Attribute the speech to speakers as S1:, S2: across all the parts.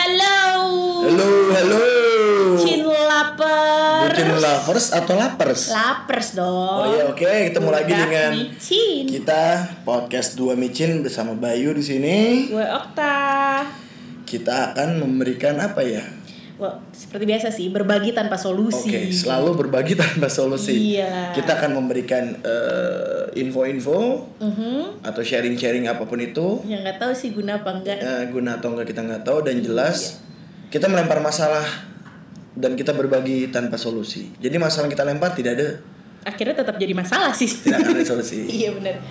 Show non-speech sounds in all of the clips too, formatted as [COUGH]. S1: Halo.
S2: Halo, halo.
S1: Bucin lapar.
S2: Bucin lovers atau lapers?
S1: Lapers dong.
S2: Oh iya, oke, ketemu lagi
S1: Budak
S2: dengan
S1: micin.
S2: kita podcast dua micin bersama Bayu di sini.
S1: Gue Okta.
S2: Kita akan memberikan apa ya?
S1: Wah, seperti biasa sih, berbagi tanpa solusi.
S2: Oke, selalu berbagi tanpa solusi.
S1: Iya.
S2: Kita akan memberikan eh, info-info
S1: Mhm.
S2: atau sharing-sharing apapun itu
S1: Ya nggak tahu sih guna apa enggak.
S2: Eh, guna atau enggak kita nggak tahu dan
S1: Iya.
S2: jelas kita melempar masalah dan kita berbagi tanpa solusi. Jadi masalah yang kita lempar tidak ada
S1: Akhirnya tetap jadi masalah sih.
S2: tidak akan ada solusi.
S1: [LAUGHS] iya benar.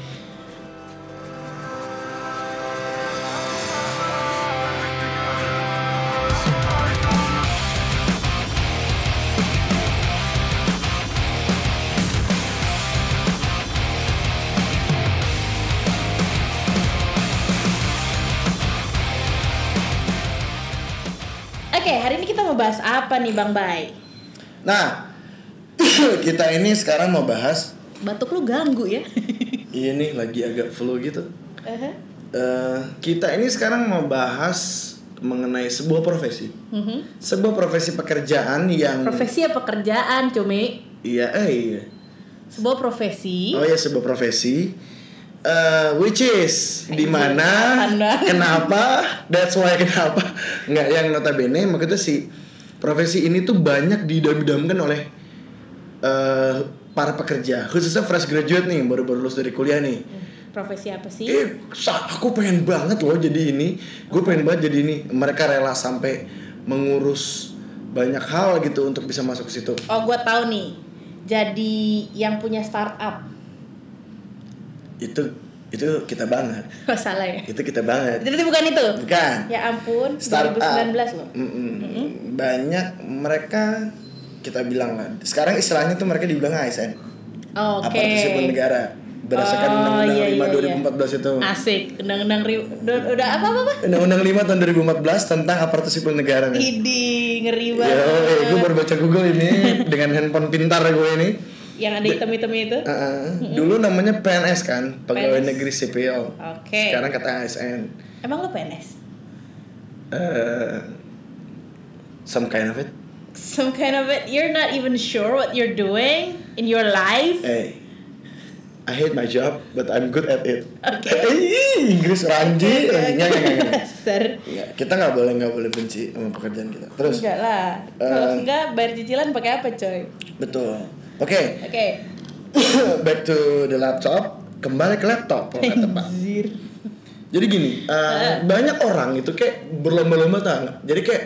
S1: Oke, hari ini kita mau bahas apa nih Bang Bay?
S2: Nah, [COUGHS] kita ini sekarang mau bahas
S1: Batuk lu ganggu [LAUGHS] ya?
S2: Iya nih lagi agak flu gitu.
S1: Aha.
S2: Eh, kita ini sekarang mau bahas mengenai sebuah profesi,
S1: Mhm.
S2: sebuah profesi pekerjaan yang
S1: Profesi apa kerjaan, Cumi?
S2: iya eh iya.
S1: Sebuah profesi.
S2: Oh ya sebuah profesi eh which is di mana
S1: Anda.
S2: kenapa that's why kenapa nggak yang notabene maksudnya si profesi ini tuh banyak didam-damkan oleh eh para pekerja khususnya fresh graduate nih baru-baru lulus dari kuliah nih
S1: Profesi apa sih?
S2: eh sa- aku pengen banget loh jadi ini gue pengen banget jadi ini mereka rela sampai mengurus banyak hal gitu untuk bisa masuk ke situ
S1: Oh, gua tahu nih. Jadi yang punya startup. [LAUGHS]
S2: itu itu kita banget
S1: Oh, salah ya.
S2: itu kita banget
S1: Jadi bukan itu.
S2: bukan
S1: Ya ampun,
S2: Startup.
S1: 2019 loh.
S2: Mm-mm. banyak mereka kita bilang lah sekarang istilahnya tuh mereka dibilang ASN
S1: Oh, Oke.
S2: aparatur sipil negara berdasarkan
S1: Oh,
S2: Undang-Undang
S1: iya, iya,
S2: 5
S1: iya.
S2: 2014 itu
S1: Asik, undang-undang ri- udah, udah apa apa apa?
S2: Undang-Undang 5 tahun 2014 tentang aparatur sipil negara nih.
S1: Idi, ngeri
S2: Ya,
S1: banget.
S2: gue baru baca Google ini [LAUGHS] dengan handphone pintar gue ini.
S1: Yang ada hitam-hitamnya itu.
S2: Uh, uh, dulu namanya PNS kan, pegawai negeri sipil.
S1: Oke.
S2: Sekarang kata ASN.
S1: Emang lu PNS?
S2: Eh, some kind of it.
S1: Some kind of it. You're not even sure what you're doing in your life.
S2: Hey, I hate my job, but I'm good at it.
S1: Oke.
S2: Eh, Inggris ranji,
S1: Oke,
S2: ranji. Nggak, nggak, nggak, nggak.
S1: [LAUGHS] Dasar.
S2: Nggak, Kita nggak boleh nggak boleh benci sama pekerjaan kita. Terus, Eh.
S1: Enggak lah. Kalau enggak bayar cicilan pakai apa, coy?
S2: betul. Oke, [COUGHS]
S1: Oke.
S2: back to the laptop. Kembali ke laptop
S1: [LAUGHS]
S2: kalau nggak tepat.
S1: Anjir.
S2: Jadi gini, uh, banyak orang itu kayak berlomba-lomba tangga. Jadi kayak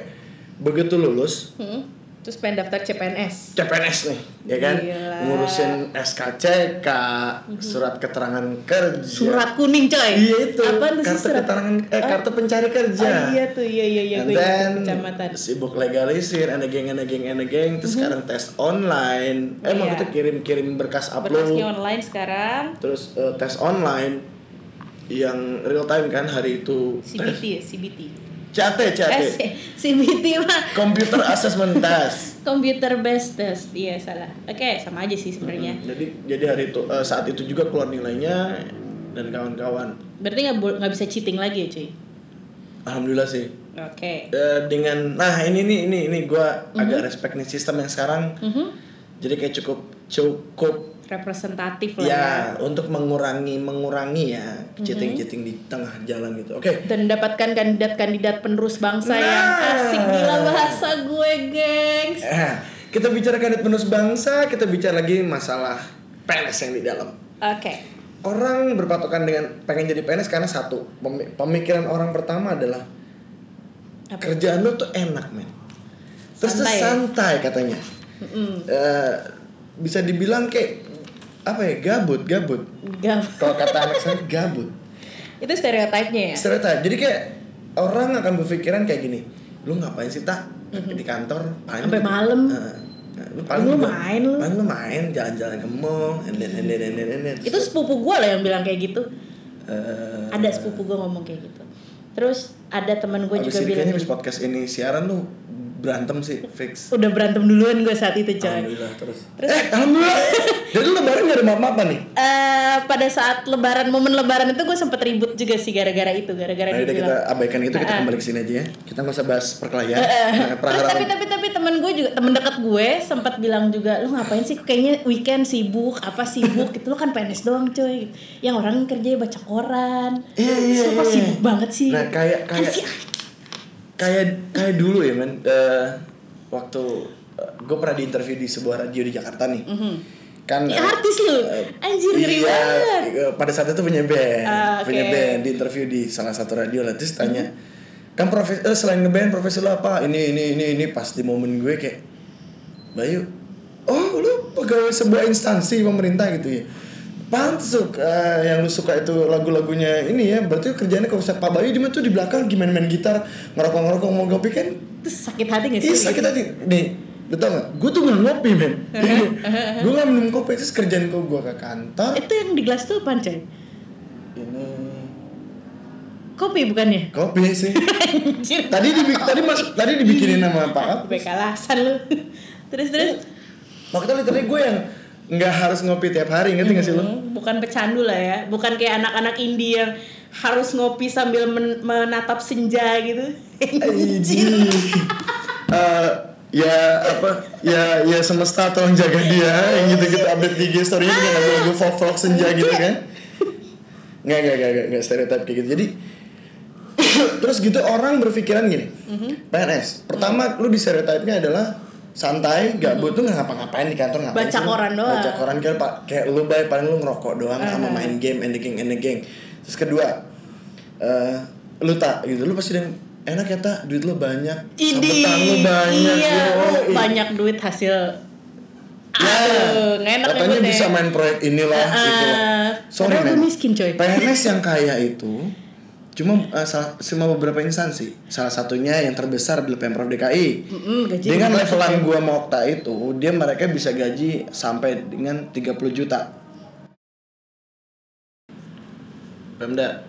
S2: begitu lulus
S1: Hmm. Terus pengen daftar CPNS.
S2: CPNS nih, ya kan?
S1: Gila. Mm-hmm.
S2: Ngurusin SKCK, surat keterangan kerja.
S1: Surat kuning, coy.
S2: Iya itu.
S1: Apaan tuh sih
S2: kartu
S1: surat?
S2: keterangan eh kartu pencari kerja.
S1: Ah. Oh, iya tuh, iya iya iya
S2: And
S1: gue
S2: then,
S1: ikut kecamatan. Mm-hmm.
S2: sibuk legalisir, ada geng, ada geng, ada geng. Terus sekarang tes online.
S1: Iya.
S2: Eh, maksudnya kirim-kirim berkas upload.
S1: Berkasnya online sekarang.
S2: Terus eh, tes online yang real time kan hari itu.
S1: CBT ya, CBT.
S2: CAT, CAT.
S1: Eh, [LAUGHS] C- CBT mah [LAUGHS]
S2: Computer assessment test.
S1: computer based test. Iya, salah. Oke, sama aja sih sebenarnya.
S2: Jadi jadi hari itu eh, saat itu juga keluar nilainya dan kawan-kawan.
S1: Berarti nggak bo- nggak bisa cheating lagi ya, cuy.
S2: Alhamdulillah sih.
S1: Oke.
S2: Eh, dengan nah ini nih ini ini gua agak
S1: Mm-hmm.
S2: respect nih sistem yang sekarang.
S1: Mhm.
S2: Jadi kayak cukup cukup
S1: Representatif lah. ya.
S2: ya untuk mengurangi mengurangi ya cheating-cheating di tengah jalan gitu. Oke.
S1: dan mendapatkan kandidat-kandidat penerus bangsa yang
S2: Nah.
S1: asik gila bahasa gue, gengs.
S2: Eh, kita bicara kandidat penerus bangsa, kita bicara lagi masalah PNS yang di dalam.
S1: Oke.
S2: orang berpatokan dengan pengen jadi PNS karena satu pemi- pemikiran orang pertama adalah
S1: Apa?
S2: kerjaan lu tuh enak men terus tuh
S1: Santai.
S2: santai katanya Eh, bisa dibilang kayak apa ya gabut gabut
S1: Gam.
S2: kalau kata anak saya gabut
S1: Itu stereotipnya ya.
S2: stereotip jadi kayak orang akan berpikiran kayak gini lu ngapain sih tak di kantor paling
S1: Sampai malam.
S2: Eh, lu paling
S1: Lu
S2: juga-
S1: main lu.
S2: paling lu main jalan-jalan ke mall and then and then and then, and then.
S1: Itu sepupu gue lah yang bilang kayak gitu.
S2: Eh,
S1: Ada sepupu gue ngomong kayak gitu. Terus ada teman gue
S2: Abis
S1: juga
S2: ini
S1: bilang gitu.
S2: kayaknya abis podcast ini siaran lu berantem sih fix
S1: Udah berantem duluan gue saat itu Iya, coy.
S2: alhamdulillah terus, eh alhamdulillah jadi lu lebaran gak ada maaf maafan nih
S1: Eh, pada saat lebaran momen lebaran itu gue sempet ribut juga sih gara-gara itu gara-gara
S2: Nah,
S1: dia
S2: udah kita
S1: bilang,
S2: abaikan itu kita kembali ke sini aja ya. Kita nggak usah bahas perkelahian. Nah,
S1: Eh, Terus tapi
S2: perharaan-
S1: tapi tapi temen gue juga temen deket gue sempat bilang juga lu ngapain sih kayaknya weekend sibuk apa sibuk gitu lu kan PNS doang coy yang orang kerja baca koran
S2: Iya, iya,
S1: Lu kok
S2: iya.
S1: sibuk banget sih
S2: Nah, kayak
S1: Kan
S2: kayak
S1: si
S2: kayak kayak dulu ya, men. Eh, waktu gue pernah diinterview di sebuah radio di Jakarta nih. Kan
S1: Ih,
S2: eh,
S1: Mhm. artis lu anjir ngeri
S2: iya,
S1: banget
S2: eh, pada saat itu punya band,
S1: Ah, oke.
S2: punya band di interview di salah satu radio lah terus tanya, "Kan profes eh, selain ngeband profesi lo apa?" Ini ini ini ini pas di momen gue kayak Bayu, "Oh, lu pegawai sebuah instansi pemerintah gitu ya." Pantes tuh eh, yang lu suka itu lagu-lagunya ini ya Berarti kerjanya kalau misalnya Pak Bayu dia mah tuh di belakang gimana main gitar Ngerokok-ngerokok mau ngopi kan
S1: terus sakit hati gak sih
S2: Iya sakit hati Nih Lu tau gak? Gue tuh gak ngopi
S1: [LAUGHS]
S2: men Gue gak minum kopi Terus kerjaan gue gue ke kantor
S1: itu yang di gelas tuh apaan coy
S2: ini
S1: kopi
S2: [LAUGHS]
S1: bukannya
S2: kopi sih
S1: anjir
S2: tadi dibi- tadi mas tadi dibikinin sama pak Kap.
S1: Gue kalasan lu [LAUGHS] terus terus
S2: waktu itu literally gue yang nggak harus ngopi tiap hari ngerti nggak sih lo
S1: Hmm, bukan pecandu lah ya bukan kayak anak-anak indie yang harus ngopi sambil men- menatap senja gitu [LAUGHS]
S2: Anjir. [LAUGHS] Eh, ya apa ya ya semesta tolong jaga dia yang gitu gitu update di IG story-nya dengan lagu-lagu folk folk senja gitu kan nggak nggak nggak nggak, nggak stereotip kayak gitu jadi [COUGHS] terus gitu orang berpikiran gini PNS pertama lu di stereotipnya adalah santai gabut tuh nggak ngapa-ngapain di kantor ngapain
S1: Baca
S2: sih lu?
S1: koran doang.
S2: baca koran kayak pak kayak lu bay paling lu ngerokok doang sama main game and the gang and the gang terus kedua eh lu tak gitu lu pasti dengan enak ya tak duit lu banyak
S1: Idi,
S2: Sambutan lu banyak
S1: iya,
S2: yoi.
S1: lu banyak duit hasil.
S2: Ya,
S1: Aduh, nggak enak
S2: katanya
S1: nyebutnya.
S2: bisa main proyek inilah gitu
S1: Ah,
S2: sorry
S1: padahal
S2: men
S1: gue miskin coy.
S2: PNS
S1: [LAUGHS]
S2: yang kaya itu cuma eh, salah, cuma beberapa instansi salah satunya yang terbesar adalah pemprov DKI
S1: Mm-mm, gaji
S2: dengan
S1: lima
S2: levelan gua sama Okta itu dia mereka bisa gaji sampai dengan 30 juta Pemda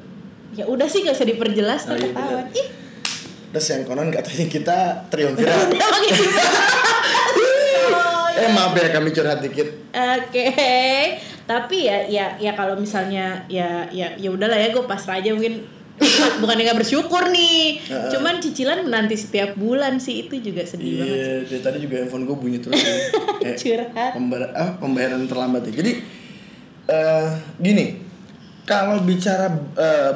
S1: Ya udah sih gak usah diperjelas
S2: Oh,
S1: oh,
S2: iya,
S1: ketahuan. Ih, [LAUGHS]
S2: terus yang konon katanya kita triumvirat
S1: udah [LAUGHS]
S2: [LAUGHS]
S1: Oh, pakai gitu.
S2: eh maaf ya kami curhat dikit
S1: Oke. Tapi ya ya ya kalau misalnya ya ya ya udahlah ya gue pasrah aja mungkin bukan nggak bersyukur nih. Cuman cicilan menanti setiap bulan sih itu juga
S2: Iya.
S1: sedih banget.
S2: dari tadi juga handphone gue bunyi terus Eh,
S1: Curhat.
S2: pembayar- ah, pembayaran terlambat ya. Jadi eh gini, kalau bicara eh,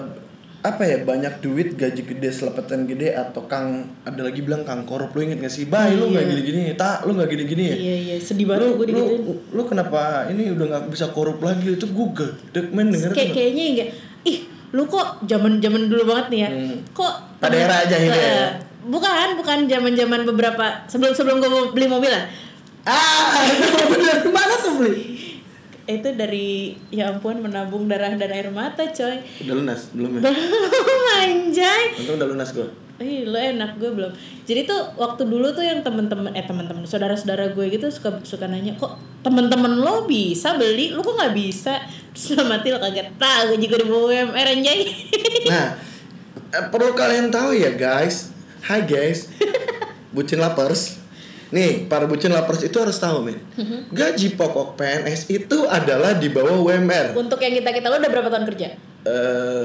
S2: apa ya banyak duit gaji gede selepetan gede atau kang ada lagi bilang kang korup lu inget gak sih? Bay lu gak gini-gini ya, tak lu gak gini-gini ya.
S1: Iya iya sedih
S2: Lu,
S1: banget gue
S2: lu,
S1: digituin.
S2: lu kenapa ini udah gak bisa korup lagi itu gue gedek men denger
S1: kayak kayaknya enggak ih lu kok zaman zaman dulu banget nih ya kok
S2: Hmm. Pada era
S1: Eh,
S2: jahiliyah ya?
S1: bukan bukan zaman zaman beberapa sebelum sebelum gue mau beli mobil ya? lah
S2: ah [LAUGHS] bener mana tuh beli
S1: itu dari ya ampun menabung darah dan air mata coy
S2: udah lunas [LAUGHS] belum ya
S1: belum anjay
S2: untung udah lunas gue
S1: Ih, lo enak gue belum. Jadi tuh waktu dulu tuh yang temen-temen eh temen-temen saudara-saudara gue gitu suka suka nanya kok temen-temen lo bisa beli, lo kok nggak bisa? Terus sama Til kaget tahu gue juga di UMR anjay.
S2: Nah, eh, perlu kalian tahu ya guys. Hai guys. Bucin lapers. Nih, para bucin lapers itu harus tahu, men.
S1: Mm-hmm.
S2: Gaji pokok PNS itu adalah di bawah UMR.
S1: Untuk yang kita kita lo udah berapa tahun kerja?
S2: Eh,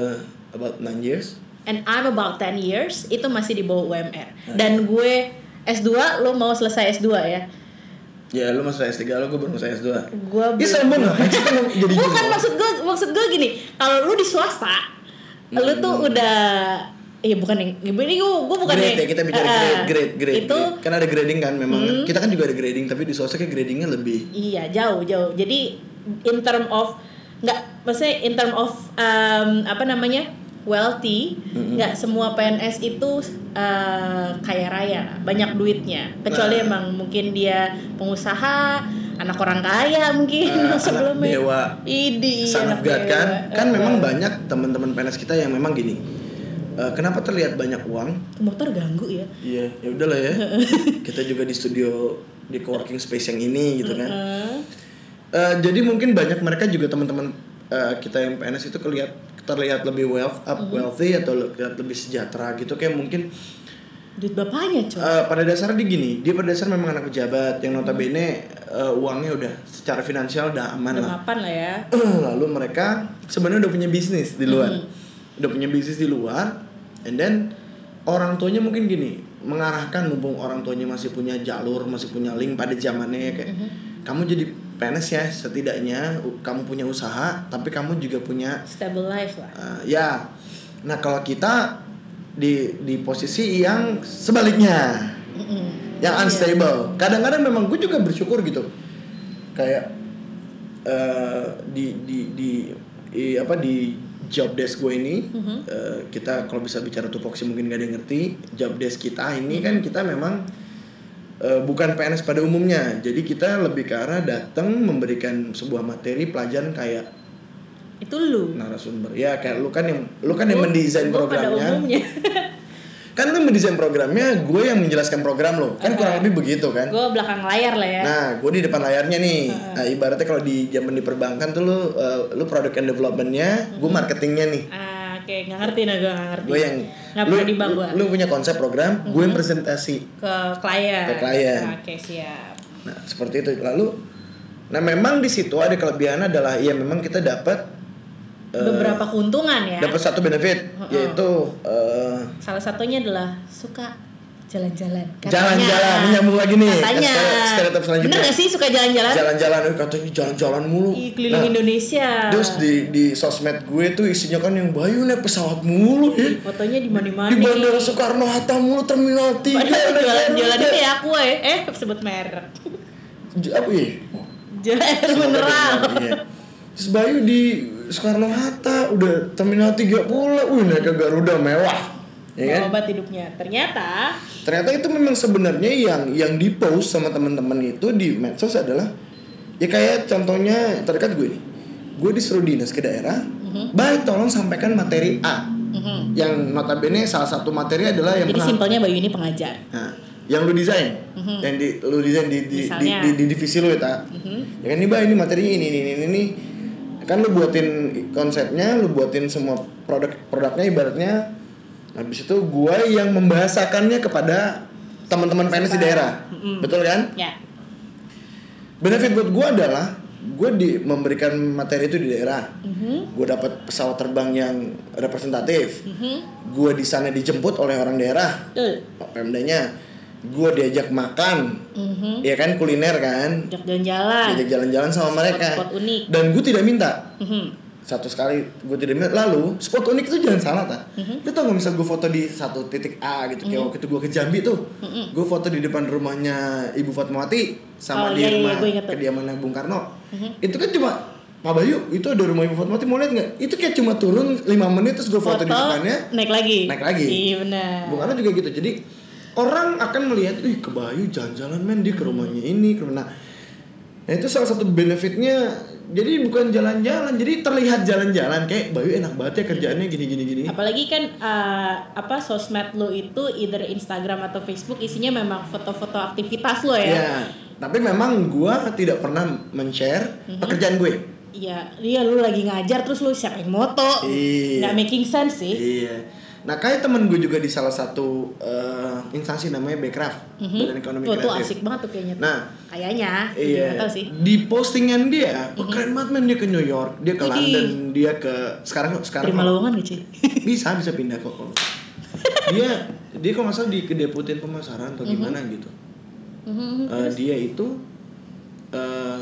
S2: about 9 years.
S1: And I'm about 10 years itu masih di bawah UMR. Dan gue S2 lo mau selesai S2 ya.
S2: Ya, lu masuk S3, lu gue baru masuk S2.
S1: Gue
S2: Ih, sombong ngapain sih kan jadi gini?
S1: Bukan maksud gue maksud gue gini, kalau lu di swasta, lu tuh udah Iya bukan yang ini gue gue bukan
S2: Hmm. grade
S1: yang-
S2: ya, kita bicara
S1: Ah,
S2: grade, grade, grade.
S1: Itu Hmm.
S2: grade. Kan ada grading kan memang. Kita kan juga ada grading, tapi di sosok kayak gradingnya lebih.
S1: iya jauh jauh. Jadi in term of nggak maksudnya in term of um, apa namanya wealthy
S2: Hmm.
S1: nggak semua PNS itu uh, kaya raya banyak duitnya kecuali
S2: Nah.
S1: emang mungkin dia pengusaha anak orang kaya mungkin
S2: Eh, anak
S1: [LAUGHS] sebelumnya
S2: dewa.
S1: idi
S2: Son
S1: anak
S2: of God
S1: dewa.
S2: kan kan
S1: Eh,
S2: memang banyak teman-teman PNS kita yang memang gini "Eh, kenapa terlihat banyak uang
S1: tuh motor ganggu ya
S2: iya ya udahlah ya kita juga di studio di coworking space yang ini gitu kan
S1: Heeh.
S2: Eh, jadi mungkin banyak mereka juga teman-teman eh, kita yang PNS itu kelihat terlihat lebih wealth up wealthy atau le- terlihat lebih sejahtera gitu kayak mungkin
S1: duit bapaknya coy
S2: Eh, pada dasarnya dia gini, dia pada dasar memang anak pejabat yang notabene eh, uangnya udah secara finansial udah aman
S1: udah
S2: lah.
S1: mapan lah ya
S2: Eh, Lalu mereka sebenarnya udah punya bisnis di luar,
S1: Mhm.
S2: udah punya bisnis di luar, and then orang tuanya mungkin gini mengarahkan mumpung orang tuanya masih punya jalur, masih punya link pada zamannya ya, kayak kamu jadi PNS ya setidaknya u- kamu punya usaha, tapi kamu juga punya
S1: stable life lah
S2: Uh, ya. Nah, kalau kita di di posisi yang sebaliknya,
S1: Mm-mm.
S2: yang unstable. Kadang-kadang memang gue juga bersyukur gitu. Kayak uh, di, di di i- apa di job desk gue ini uh, kita kalau bisa bicara tupoksi mungkin gak ada yang ngerti. Job desk kita ini kan kita memang uh, bukan PNS pada umumnya. Jadi kita lebih ke arah datang memberikan sebuah materi pelajaran kayak
S1: itu lu
S2: narasumber ya kayak lu kan yang lu kan yang
S1: Gua-
S2: mendesain
S1: gua pada
S2: programnya
S1: umumnya
S2: kan lu mendesain programnya gue yang menjelaskan program lo
S1: Aha.
S2: kan kurang lebih begitu kan
S1: gue belakang layar lah ya
S2: nah gue di depan layarnya nih
S1: Ah.
S2: nah, ibaratnya kalau di zaman di perbankan tuh lu uh, lu product and developmentnya
S1: Hmm.
S2: gue marketingnya nih
S1: ah, oke nggak ngerti nah gue nggak ngerti
S2: gue yang
S1: nggak
S2: lu,
S1: pernah di bank Hmm.
S2: lu,
S1: gue
S2: lu punya konsep program gue yang presentasi
S1: ke klien
S2: Ke klien.
S1: oke siap
S2: Nah, seperti itu. Lalu nah memang di situ ada kelebihan adalah ya memang kita dapat Eh,
S1: beberapa keuntungan ya Hmm.
S2: dapat satu benefit
S1: Heeh.
S2: yaitu eh,
S1: salah satunya adalah suka jalan-jalan Katanya-
S2: jalan-jalan Ini nyambung lagi nih.
S1: katanya
S2: Step- Stereotip
S1: bener
S2: selanjutnya.
S1: gak sih suka jalan-jalan
S2: Jalan-jalan eh, katanya jalan-jalan mulu.
S1: Ih, keliling Indonesia
S2: Nah. Terus di di sosmed gue tuh isinya kan yang Bayu naik pesawat mulu ya.
S1: fotonya di mana-mana
S2: Di Bandara Soekarno Hatta mulu terminal 3.
S1: Padahal jualan-jualan itu ya aku eh eh sebut merek
S2: Apa ya?
S1: jualan air mineral
S2: Iya. Terus Bayu di Soekarno Hatta udah terminal 3 pula. Wih, naik ke Garuda mewah. Ya kan?
S1: obat hidupnya ternyata
S2: ternyata itu memang sebenarnya yang yang di post sama teman-teman itu di medsos adalah ya kayak contohnya terdekat gue nih gue disuruh dinas ke daerah baik tolong sampaikan materi A
S1: mhm.
S2: yang notabene salah satu materi adalah yang
S1: jadi
S2: pernah-
S1: simpelnya Bayu ini pengajar
S2: Nah, yang lu desain yang di, lu desain di
S1: Mhm.
S2: di, di,
S1: Misalnya. Mhm.
S2: di, di divisi lu ya tak ya kan ini bah ini materinya ini ini ini ini, ini. kan lu buatin konsepnya lu buatin semua produk produknya ibaratnya habis itu gua yang membahasakannya kepada teman-teman PNS di daerah betul kan
S1: ya
S2: benefit buat gua adalah gue di memberikan materi itu di daerah
S1: Mhm.
S2: gue dapat pesawat terbang yang representatif
S1: Mhm.
S2: gue di sana dijemput oleh orang daerah
S1: betul
S2: Pak Pemdanya gue diajak makan
S1: Mhm.
S2: ya kan kuliner kan
S1: ajak jalan-jalan
S2: diajak jalan-jalan sama mereka
S1: spot Ah. unik
S2: dan gue tidak minta
S1: Mhm.
S2: satu sekali gue tidak minta lalu spot unik itu jangan salah tak
S1: Mhm.
S2: lu tau gak misal gue foto di satu titik A gitu kayak waktu itu gue ke Jambi tuh
S1: Mhm.
S2: gue foto di depan rumahnya Ibu Fatmawati sama
S1: Oh,
S2: di
S1: iya, iya,
S2: rumah
S1: gua inget tuh. Mhm.
S2: kediamannya Bung Karno itu kan cuma Pak Bayu itu ada rumah Ibu Fatmawati mau lihat nggak itu kayak cuma turun 5 menit terus gue foto, di depannya
S1: naik lagi
S2: naik lagi.
S1: iya benar
S2: Bung Karno juga gitu. Jadi orang akan melihat, ih ke Bayu jalan-jalan men dia ke rumahnya ini, ke rumah. Nah, nah, itu salah satu benefitnya. Jadi bukan jalan-jalan, jadi terlihat jalan-jalan kayak Bayu enak banget ya kerjaannya gini-gini gini.
S1: apalagi kan eh, apa sosmed lo itu either Instagram atau Facebook isinya memang foto-foto aktivitas lo ya
S2: Ya, tapi memang gua tidak pernah men-share
S1: Mm-hmm.
S2: pekerjaan gue.
S1: iya iya lo lagi ngajar terus lo siapa yang moto
S2: Iya.
S1: nggak making sense sih
S2: Iya. Nah, kayak temen gue juga di salah satu eh, instansi namanya Backcraft, Badan Ekonomi
S1: Mm-hmm. Tuh, tuh
S2: Kreatif.
S1: asik banget tuh kayaknya tuh.
S2: Nah,
S1: kayaknya
S2: Iya.
S1: nggak tahu sih
S2: Di postingan dia, wah, keren banget men dia ke New York, dia ke
S1: Widih.
S2: London, dia ke sekarang sekarang
S1: terima lowongan gak cuy
S2: bisa bisa pindah kok kalau dia dia kalau nggak salah di kedeputin pemasaran
S1: Mhm.
S2: atau gimana gitu. Eh, dia itu eh,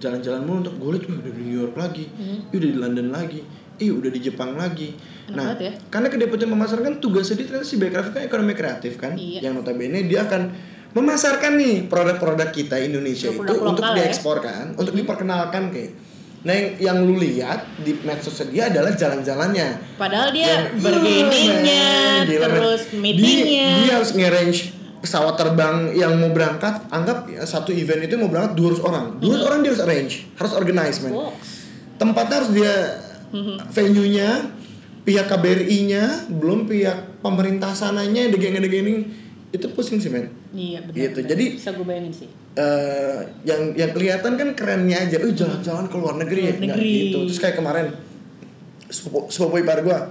S2: jalan-jalan mulu untuk gue liat "Wih, udah di New York lagi, ih, udah di London lagi, ih udah di Jepang lagi.
S1: Mhm. Enak
S2: nah,
S1: banget ya.
S2: karena kedeputin pemasaran kan tugasnya dia ternyata si Backcraft kan ekonomi kreatif kan,
S1: Iya.
S2: yang notabene dia akan memasarkan nih produk-produk kita Indonesia itu
S1: Produk-produk
S2: untuk
S1: lokal ya.
S2: diekspor kan, untuk diperkenalkan kayak. Nah, yang, yang lu lihat di medsosnya dia adalah jalan-jalannya
S1: padahal dia
S2: yang-
S1: Iya, bergeningnya
S2: Iya, men. Gila, men.
S1: terus
S2: Dia-
S1: meetingnya
S2: dia, harus nge-range pesawat terbang yang mau berangkat anggap ya, satu event itu mau berangkat 200 orang 200 orang dia harus arrange harus organize
S1: Mm-hmm.
S2: men
S1: Wow. Mm-hmm.
S2: tempatnya harus dia venue-nya pihak KBRI-nya belum pihak pemerintah sananya degeng-degeng itu pusing sih men
S1: iya benar
S2: Gitu,
S1: benar.
S2: jadi-
S1: bisa gue bayangin sih
S2: eh yang yang kelihatan kan kerennya aja, eh jalan-jalan ke luar negeri ya,
S1: Luar
S2: nggak
S1: negeri.
S2: gitu. Terus kayak kemarin sepupu sepupu ipar gua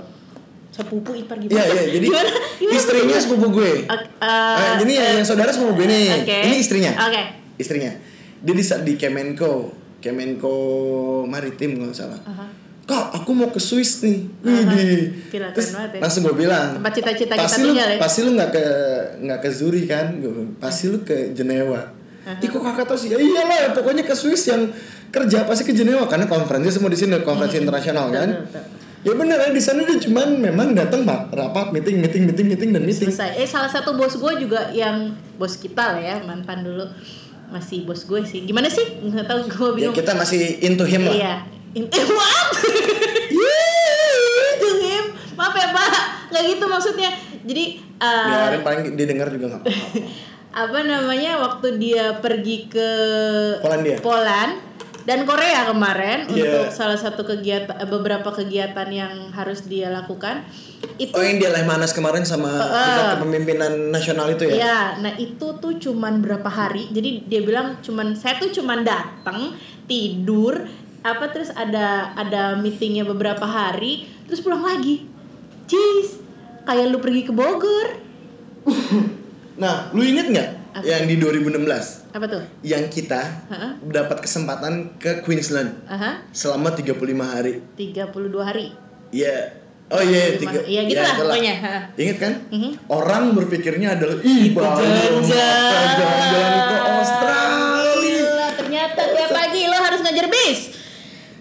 S1: sepupu ipar gitu.
S2: Iya iya jadi
S1: [LAUGHS] Gimana? Gimana?
S2: istrinya sepupu gue.
S1: Ok, eh,
S2: Ah, ini yang, yang saudara sepupu gue nih.
S1: Oke.
S2: Ini istrinya.
S1: Oke.
S2: Istrinya. Dia di, di Kemenko, Kemenko Maritim kalau nggak salah.
S1: Aha.
S2: Kak, aku mau ke Swiss nih. Widih.
S1: Gila, keren
S2: Terus
S1: banget ya.
S2: langsung gue bilang.
S1: Tempat cita-cita kita
S2: pasti lu,
S1: tinggal ya."
S2: Pasti lu nggak ke nggak ke Zurich kan? Gue bilang, pasti lu ke Jenewa. Ih kok kakak tau sih? Ya iyalah, pokoknya ke Swiss yang kerja pasti ke Jenewa karena konferensi semua di sini konferensi internasional kan.
S1: Hmm. betul,
S2: Ya bener ya, di sana dia cuman memang datang Pak, rapat meeting meeting meeting meeting dan meeting.
S1: Selesai. Eh salah satu bos gue juga yang bos kita lah ya mantan dulu masih bos gue sih. Gimana sih? Nggak tahu gue
S2: Ya
S1: bingung.
S2: kita masih into him lah.
S1: Iya. In- eh, what? Yeay, to him. Maaf ya pak, nggak gitu maksudnya. Jadi eh,
S2: Biarin paling didengar juga nggak apa-apa.
S1: apa namanya waktu dia pergi ke
S2: Polandia.
S1: Poland dan Korea kemarin
S2: Iya.
S1: untuk salah satu kegiatan beberapa kegiatan yang harus dia lakukan itu
S2: Oh yang dia Lehmanas kemarin sama tingkat kepemimpinan nasional itu ya?
S1: Ya, nah itu tuh cuman berapa hari. Jadi dia bilang cuman saya tuh cuman datang, tidur, apa terus ada ada meetingnya beberapa hari, terus pulang lagi. Cheese, kayak lu pergi ke Bogor.
S2: Nah, lu inget nggak
S1: Apa?
S2: yang di 2016
S1: Apa tuh?
S2: yang kita
S1: Heeh.
S2: dapat kesempatan ke Queensland
S1: Aha,
S2: selama 35 hari?
S1: 32 hari.
S2: Ya, oh
S1: Lima-
S2: iya, tiga.
S1: iya, gitu lah
S2: itulah.
S1: pokoknya, heeh.
S2: Ingat kan?
S1: Mhm.
S2: Orang berpikirnya adalah ih banyak
S1: jalan-jalan.
S2: mata jalan-jalan ke Australia.
S1: Gila, ternyata tiap pagi lo harus ngejer bis.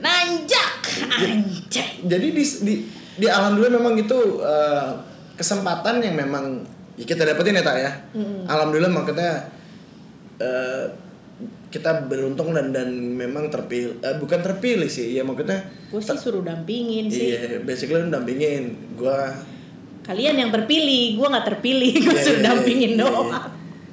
S1: Nanjak, anjay.
S2: jadi di di, di alhamdulillah memang itu eh, kesempatan yang memang ya kita dapetin ya tak ya alhamdulillah makanya eh, kita beruntung dan dan memang terpilih eh, bukan terpilih sih ya maksudnya
S1: Gue sih suruh dampingin sih.
S2: iya basically lu dampingin
S1: [LAUGHS]
S2: gua
S1: Kalian yang terpilih, gue nggak terpilih, gue
S2: ya,
S1: suruh
S2: ya,
S1: dampingin
S2: ya,
S1: doang. [LAUGHS]
S2: ya.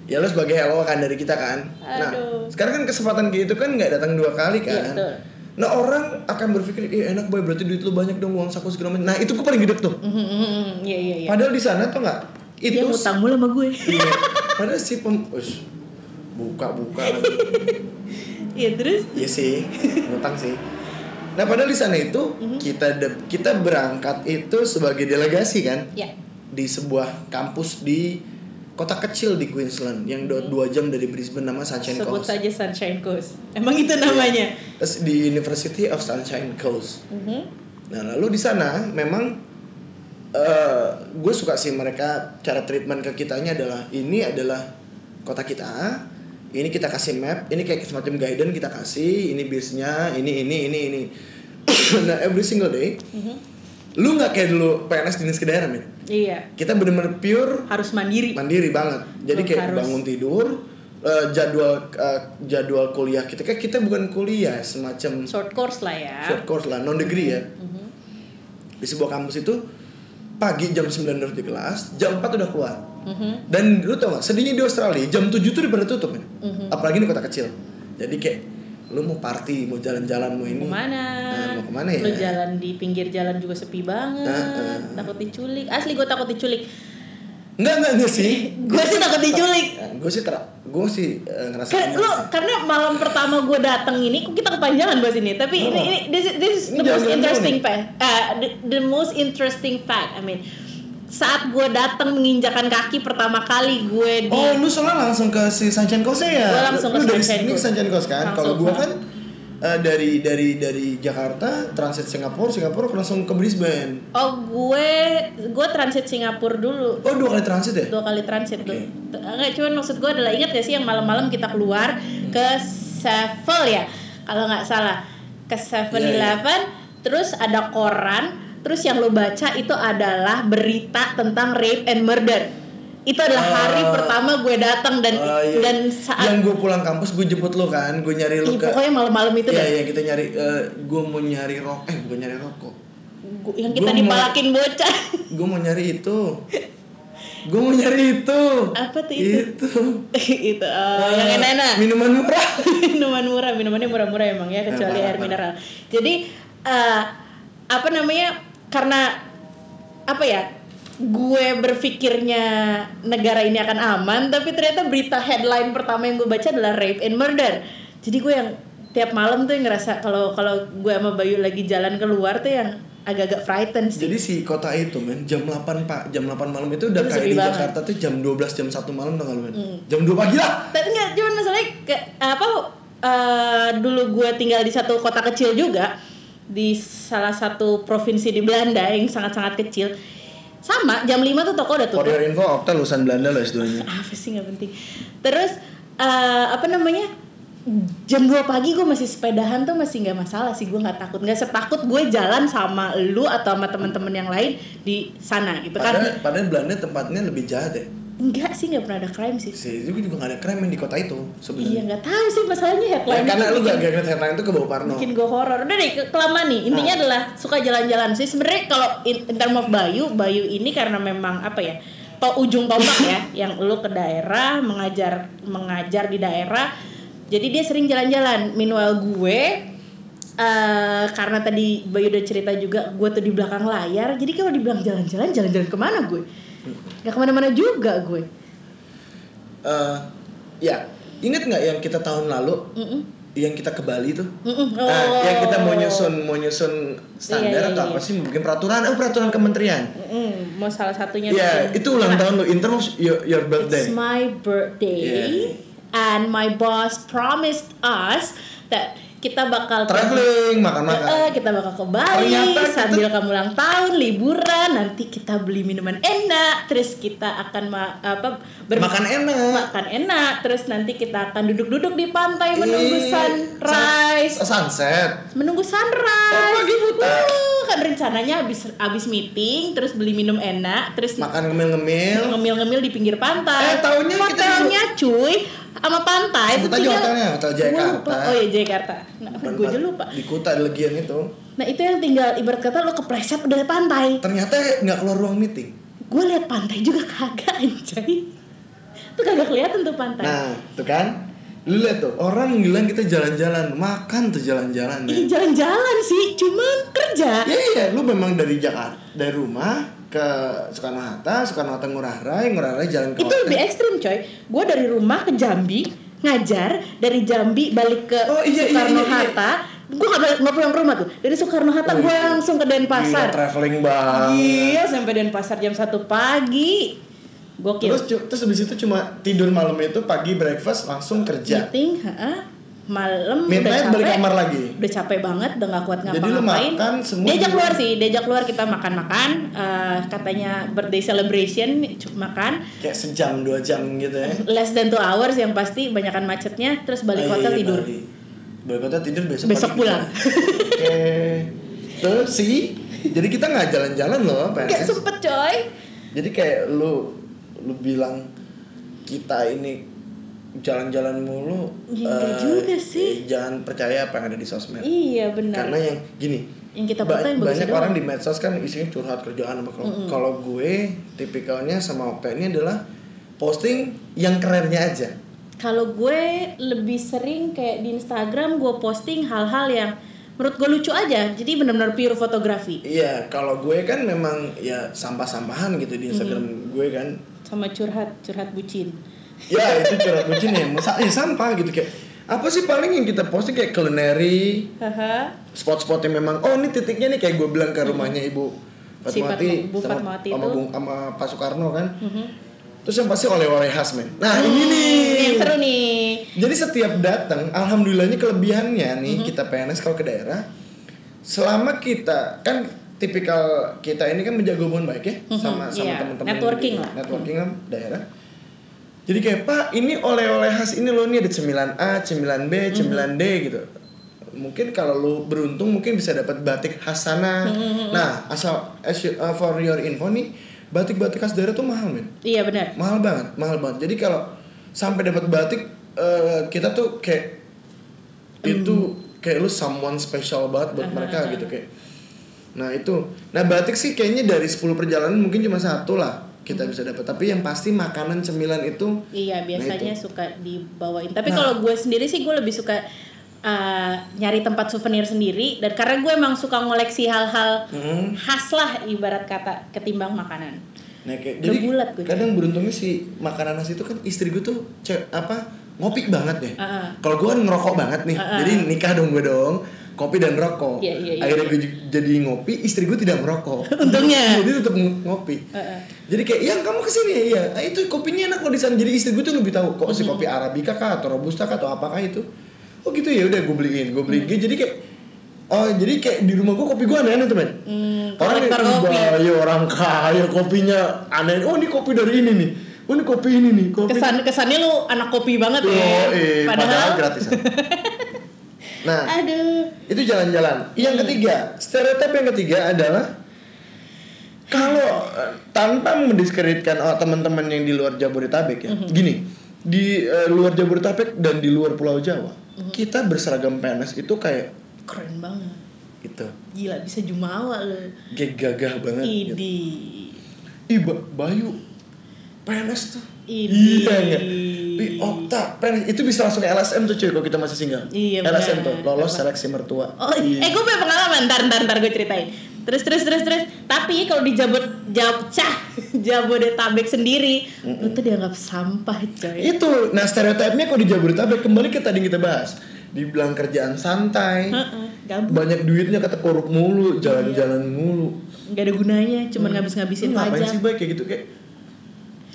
S2: ya lu sebagai hello kan dari kita kan nah
S1: Aduh.
S2: sekarang kan kesempatan kayak itu kan nggak datang dua kali
S1: Iya,
S2: kan
S1: betul.
S2: Nah orang akan berpikir, eh enak boy berarti duit lu banyak dong uang saku segala macam. Nah itu gue paling gede tuh.
S1: Mhm, mhm, Iya iya iya.
S2: Padahal di sana tuh nggak
S1: Dia
S2: itu
S1: utang mulu sama gue.
S2: Iya. Padahal si pem Ush, buka buka
S1: [LAUGHS] Iya terus.
S2: Iya sih, ngutang sih. Nah padahal di sana itu
S1: Mhm.
S2: kita de- kita berangkat itu sebagai delegasi kan
S1: Ya.
S2: di sebuah kampus di kota kecil di Queensland yang do- dua jam dari Brisbane nama Sunshine
S1: Mhm. Sebut
S2: Coast.
S1: saja Sunshine Coast. Emang itu namanya.
S2: Terus di University of Sunshine Coast.
S1: Iya. Mhm.
S2: Nah lalu di sana memang eh gue suka sih mereka cara treatment ke kitanya adalah ini adalah kota kita, ini kita kasih map, ini kayak semacam guidance kita kasih, ini bisnya, ini ini ini [COUGHS] ini. nah every single day,
S1: Mhm.
S2: lu nggak kayak dulu PNS dinas kedaerah men.
S1: Iya.
S2: Kita bener-bener pure
S1: Harus mandiri.
S2: mandiri banget jadi
S1: Lu
S2: kayak
S1: harus-
S2: bangun tidur eh, jadwal eh, jadwal kuliah kita kayak kita bukan kuliah semacam
S1: Short course lah ya.
S2: short course lah non degree ya
S1: Mm-hmm.
S2: di sebuah kampus itu pagi jam 9 udah di kelas jam 4 udah keluar
S1: Mhm.
S2: dan lu tau gak sedihnya di Australia jam 7 tuh udah pada tutup men
S1: Mm-hmm.
S2: apalagi di kota kecil jadi kayak lu mau party mau jalan-jalan mau ini
S1: Kemana?
S2: Nah, mau kemana
S1: Lu
S2: ya?
S1: jalan di pinggir jalan juga sepi banget.
S2: Nah,
S1: Takut diculik. Asli gue takut diculik.
S2: enggak enggak enggak
S1: [LAUGHS]
S2: sih
S1: Gue sih takut diculik.
S2: gue sih ter gue sih eh, ngerasa
S1: Kan lu karena malam pertama gue datang ini kok kita kepanjangan bahas ini tapi ini
S2: Kenapa?
S1: ini this is, this is
S2: Ini
S1: the most
S2: jangan
S1: interesting
S2: dulu
S1: fact uh, the, the most interesting fact I mean saat gue datang menginjakan kaki pertama kali gue di
S2: Oh, lu soalnya langsung ke si Sunshine Coast ya?
S1: Gua langsung ke
S2: Lu
S1: Sunshine
S2: dari sini ke
S1: Coast.
S2: Sunshine Coast kan?
S1: Langsung
S2: Kalau gua
S1: ke-
S2: kan eh, dari dari dari Jakarta transit Singapura, Singapura langsung ke Brisbane.
S1: oh gue gue transit Singapura dulu
S2: Oh, dua kali transit ya?
S1: dua kali transit tuh
S2: Oke.
S1: T- eh, enggak cuman maksud gue adalah ingat gak sih yang malam-malam kita keluar ke Sevel ya kalau nggak salah ke Seven
S2: Iya,
S1: Eleven terus ada koran terus yang lo baca itu adalah berita tentang rape and murder itu adalah hari
S2: Ah.
S1: pertama gue datang dan
S2: Oh, iya.
S1: dan saat
S2: yang gue pulang kampus gue jemput lu kan, gue nyari
S1: Ih,
S2: lu ke
S1: pokoknya malam-malam itu
S2: Iya,
S1: deh
S2: iya kita nyari gue mau nyari rokok, eh bukan nyari rokok.
S1: Gu- yang kita
S2: Gua mau-
S1: dipalakin bocah [LAUGHS]
S2: Gue mau nyari itu. Gue mau nyari itu.
S1: Apa tuh itu?
S2: Itu.
S1: itu oh, yang
S2: Eh,
S1: enak-enak
S2: Minuman murah.
S1: minuman murah minumannya murah-murah emang ya kecuali
S2: parah,
S1: air
S2: parah.
S1: mineral jadi eh, apa namanya karena apa ya gue berpikirnya negara ini akan aman tapi ternyata berita headline pertama yang gue baca adalah rape and murder jadi gue yang tiap malam tuh yang ngerasa kalau kalau gue sama Bayu lagi jalan keluar tuh yang agak-agak frightened sih.
S2: Jadi si kota itu men jam 8 pak jam 8 malam itu udah
S1: Itu
S2: kayak
S1: sepi
S2: di
S1: banget. Hmm.
S2: Jakarta tuh jam 12 jam 1 malam tau gak lu men jam 2 pagi lah
S1: Tapi nggak cuman masalahnya ke, apa eh, dulu gue tinggal di satu kota kecil juga di salah satu provinsi di Belanda yang sangat-sangat kecil. Sama jam 5 tuh toko udah tutup.
S2: For your info Okta lulusan Belanda loh S2 nya
S1: apa sih nggak penting terus eh, apa namanya jam 2 pagi gue masih sepedahan tuh masih nggak masalah sih gue nggak takut nggak setakut gue jalan sama lu atau sama teman-teman yang lain di sana gitu kan
S2: padahal, padahal Belanda tempatnya lebih jahat ya
S1: enggak sih nggak pernah ada crime sih
S2: sih juga juga gak ada keren men di kota itu
S1: iya
S2: sebenarnya
S1: nggak tahu sih masalahnya
S2: Ya,
S1: headline
S2: karena lu gak gak ngeliat headline itu ke bawah Parno
S1: bikin gue horor udah deh ke- kelamaan nih intinya
S2: Ah.
S1: adalah suka jalan-jalan sih sebenarnya kalau in, in term of Bayu Bayu ini karena memang apa ya to ujung tombak
S2: [LAUGHS]
S1: ya yang lu ke daerah mengajar mengajar di daerah jadi dia sering jalan-jalan meanwhile gue eh karena tadi Bayu udah cerita juga gue tuh di belakang layar jadi kalau dibilang jalan-jalan jalan-jalan kemana gue nggak kemana-mana juga gue
S2: Eh, ya inget nggak yang kita tahun lalu
S1: Mm-mm.
S2: yang kita ke Bali tuh
S1: Mm-mm.
S2: Nah,
S1: Oh.
S2: yang kita mau nyusun mau nyusun standar
S1: Iya, iya,
S2: atau apa
S1: iya.
S2: sih bikin peraturan oh peraturan kementerian
S1: Mm-mm. Mm, mau salah satunya
S2: Iya,
S1: bikin-
S2: itu ulang
S1: Nah,
S2: tahun lu in terms of your, your
S1: It's
S2: birthday
S1: my birthday, and my boss promised us that kita bakal
S2: traveling makan-makan
S1: Eh, kita bakal ke Bali
S2: Ternyata kita-
S1: sambil kamu ulang tahun, liburan, nanti kita beli minuman enak, terus kita akan ma- apa ber-
S2: makan enak
S1: makan enak, terus nanti kita akan duduk-duduk di pantai menunggu
S2: Ih,
S1: sunrise,
S2: sun- Iya. Oh, sunset
S1: menunggu sunrise.
S2: Oh, pagi buta.
S1: Wuh, kan rencananya abis abis meeting, terus beli minum enak, terus
S2: makan ngemil-ngemil
S1: ngemil-ngemil di pinggir pantai.
S2: Eh, taunya kita
S1: hotelnya cuy sama pantai.
S2: Sebut aja
S1: tinggal-
S2: hotelnya, Hotel Jakarta.
S1: Gua lupa. Oh iya Jakarta. Nah, gue aja lupa.
S2: di kota di legian itu
S1: Nah itu yang tinggal ibarat kata lo kepleset udah di pantai.
S2: ternyata nggak keluar ruang meeting
S1: Gue liat pantai juga kagak anjay. Tuh kagak kelihatan tuh pantai.
S2: nah tuh kan lu lihat tuh orang bilang kita jalan-jalan makan tuh jalan-jalan
S1: Ih,
S2: men.
S1: jalan-jalan sih, cuman kerja.
S2: Iya iya, lu memang dari Jakarta, dari rumah ke Soekarno Hatta, Soekarno Hatta Ngurah Rai, Ngurah Rai jalan ke
S1: Itu
S2: hotel.
S1: lebih ekstrim coy. Gue dari rumah ke Jambi ngajar dari Jambi balik ke
S2: Oh, iya, iya,
S1: Soekarno
S2: iya, iya.
S1: Hatta. Gue gak, balik- gak pulang ke rumah tuh. Dari Soekarno Hatta
S2: Oh,
S1: gue
S2: iya.
S1: langsung ke Denpasar.
S2: Gila, traveling banget.
S1: Iya, sampai Denpasar jam 1 pagi. Gokil.
S2: Terus cu- terus habis itu cuma tidur malam itu pagi breakfast langsung kerja.
S1: meeting, heeh. Malam
S2: Midnight balik kamar lagi.
S1: Udah capek banget, udah gak kuat
S2: Jadi
S1: ngapa-ngapain.
S2: lu makan semua
S1: Diajak
S2: di-
S1: keluar sih, diajak keluar kita makan-makan. Eh, katanya birthday celebration, cu- makan.
S2: Kayak sejam dua jam gitu ya.
S1: Less than 2 hours yang pasti, banyakan macetnya. Terus balik
S2: Ah, iya,
S1: hotel
S2: iya,
S1: tidur.
S2: Bali. Balik hotel tidur besok.
S1: Besok
S2: pagi
S1: pulang.
S2: kita- Oke. Terus sih, jadi kita nggak jalan-jalan loh,
S1: Gak
S2: PNS.
S1: sempet coy.
S2: Jadi kayak lu lu bilang kita ini jalan-jalan mulu
S1: Ya, nggak
S2: eh,
S1: juga sih.
S2: Jangan percaya apa yang ada di sosmed.
S1: Iya benar.
S2: Nah, Karena yang gini,
S1: Yang kita
S2: ba-
S1: fotoin bagus
S2: banyak
S1: doang.
S2: orang di medsos kan isinya curhat kerjaan apa kalau kalau gue tipikalnya sama Okta ini adalah posting yang kerennya aja.
S1: Kalau gue lebih sering kayak di Instagram gue posting hal-hal yang menurut gue lucu aja. Jadi benar-benar pure fotografi
S2: Iya, kalau gue kan memang ya sampah-sampahan gitu di Instagram gue kan.
S1: sama curhat-curhat bucin.
S2: Ya itu curhat bucin ya, masa ya sampah gitu kayak apa sih paling yang kita posting kayak culinary,
S1: Haha.
S2: spot-spot yang memang oh ini titiknya nih kayak gue bilang ke rumahnya ibu
S1: Si
S2: Fatmawati
S1: Fatma- Bu
S2: sama,
S1: Fatmawati
S2: sama,
S1: itu.
S2: Bung- sama Pak Soekarno kan terus yang pasti oleh-oleh khas men nah ini nih
S1: Mhm. Hmm, Yang seru nih.
S2: jadi setiap datang alhamdulillahnya kelebihannya nih
S1: Mhm.
S2: kita PNS kalau ke daerah selama kita kan tipikal kita ini kan menjaga hubungan baik ya sama sama
S1: iya.
S2: teman-teman
S1: Networking
S2: di-
S1: lah. Mhm.
S2: networking lah daerah jadi kayak pak ini oleh-oleh khas ini loh nih ada cemilan A, cemilan
S1: Mhm.
S2: B, cemilan D gitu. Mungkin kalau lu beruntung mungkin bisa dapat batik khas sana.
S1: Mhm,
S2: Nah, asal as you- uh, for your info nih, batik-batik khas daerah tuh mahal, men.
S1: Iya benar.
S2: Mahal banget, mahal banget. Jadi kalau sampai dapat batik eh, kita tuh kayak itu kayak lu someone special banget buat mereka gitu kayak. Nah, itu. Nah, batik sih kayaknya dari 10 perjalanan mungkin cuma satu lah kita bisa dapat. Tapi yang pasti makanan cemilan itu
S1: Iya biasanya
S2: Nah, itu.
S1: suka dibawain. Tapi
S2: Nah.
S1: kalau gue sendiri sih gue lebih suka eh, nyari tempat souvenir sendiri. Dan karena gue emang suka ngoleksi hal-hal
S2: Hmm.
S1: khas lah ibarat kata ketimbang makanan.
S2: Nah, kayak,
S1: Udah
S2: jadi
S1: bulat gue.
S2: kadang beruntungnya si makanan nasi itu kan istri gue tuh ce- apa ngopi banget ya.
S1: Heeh.
S2: Kalau gue kan ngerokok banget nih. Jadi nikah dong gue dong. kopi dan rokok.
S1: Iya, iya, iya,
S2: Akhirnya
S1: iya.
S2: gue ju- jadi ngopi, istri gue tidak merokok.
S1: [LAUGHS] Untungnya.
S2: Jadi tetap ng- ngopi.
S1: Heeh.
S2: Jadi kayak, yang kamu kesini iya. "Ah, itu kopinya enak loh di sana. Jadi istri gue tuh lebih tahu kok si
S1: Mm-hmm.
S2: kopi arabica kah atau robusta kah atau apakah itu. Oh gitu ya udah gue beliin, gue beliin.
S1: Mm-hmm.
S2: Jadi kayak Oh jadi kayak di rumah gue kopi gue aneh-aneh tuh men
S1: Hmm,
S2: Orang
S1: kolektor
S2: kayak,
S1: kopi.
S2: "Wah, iya, orang kaya kopinya aneh Oh ini kopi dari ini nih Oh ini kopi ini nih kopi
S1: Kesan kesannya lu anak kopi banget
S2: Yo,
S1: ya.
S2: eh, padahal,
S1: padahal
S2: gratisan. nah,
S1: aduh.
S2: itu jalan-jalan. Yang ketiga, stereotip yang ketiga adalah kalau eh, tanpa mendiskreditkan oh, teman-teman yang di luar Jabodetabek ya.
S1: Mhm.
S2: Gini, di eh, luar Jabodetabek dan di luar Pulau Jawa,
S1: Mhm.
S2: kita berseragam PNS itu kayak
S1: Keren banget.
S2: gitu.
S1: Gila bisa jumawa lu.
S2: Kayak gagah banget gitu.
S1: Idi.
S2: Ih, Ba- Bayu PNS tuh.
S1: Idi.
S2: Iya, iya. Ih, Okta, PNS itu bisa langsung LSM tuh cuy kalau kita masih single.
S1: Iya,
S2: LSM tuh,
S1: benar.
S2: lolos
S1: Apa?
S2: seleksi mertua. Iya.
S1: Oh, eh gue punya pengalaman, ntar ntar ntar gue ceritain. Terus terus terus terus. Tapi kalau di Jabot Jab Cah [LAUGHS] Jabodetabek sendiri, lu tuh dianggap sampah coy.
S2: Itu, nah stereotipnya kalau di Jabodetabek kembali ke tadi yang kita bahas. Dibilang kerjaan santai,
S1: Heeh, gabut.
S2: banyak duitnya kata korup mulu,
S1: Iya.
S2: jalan-jalan mulu.
S1: Gak ada gunanya, cuman ngabis-ngabisin
S2: Lu ngapain sih
S1: pajak.
S2: baik kayak gitu kayak.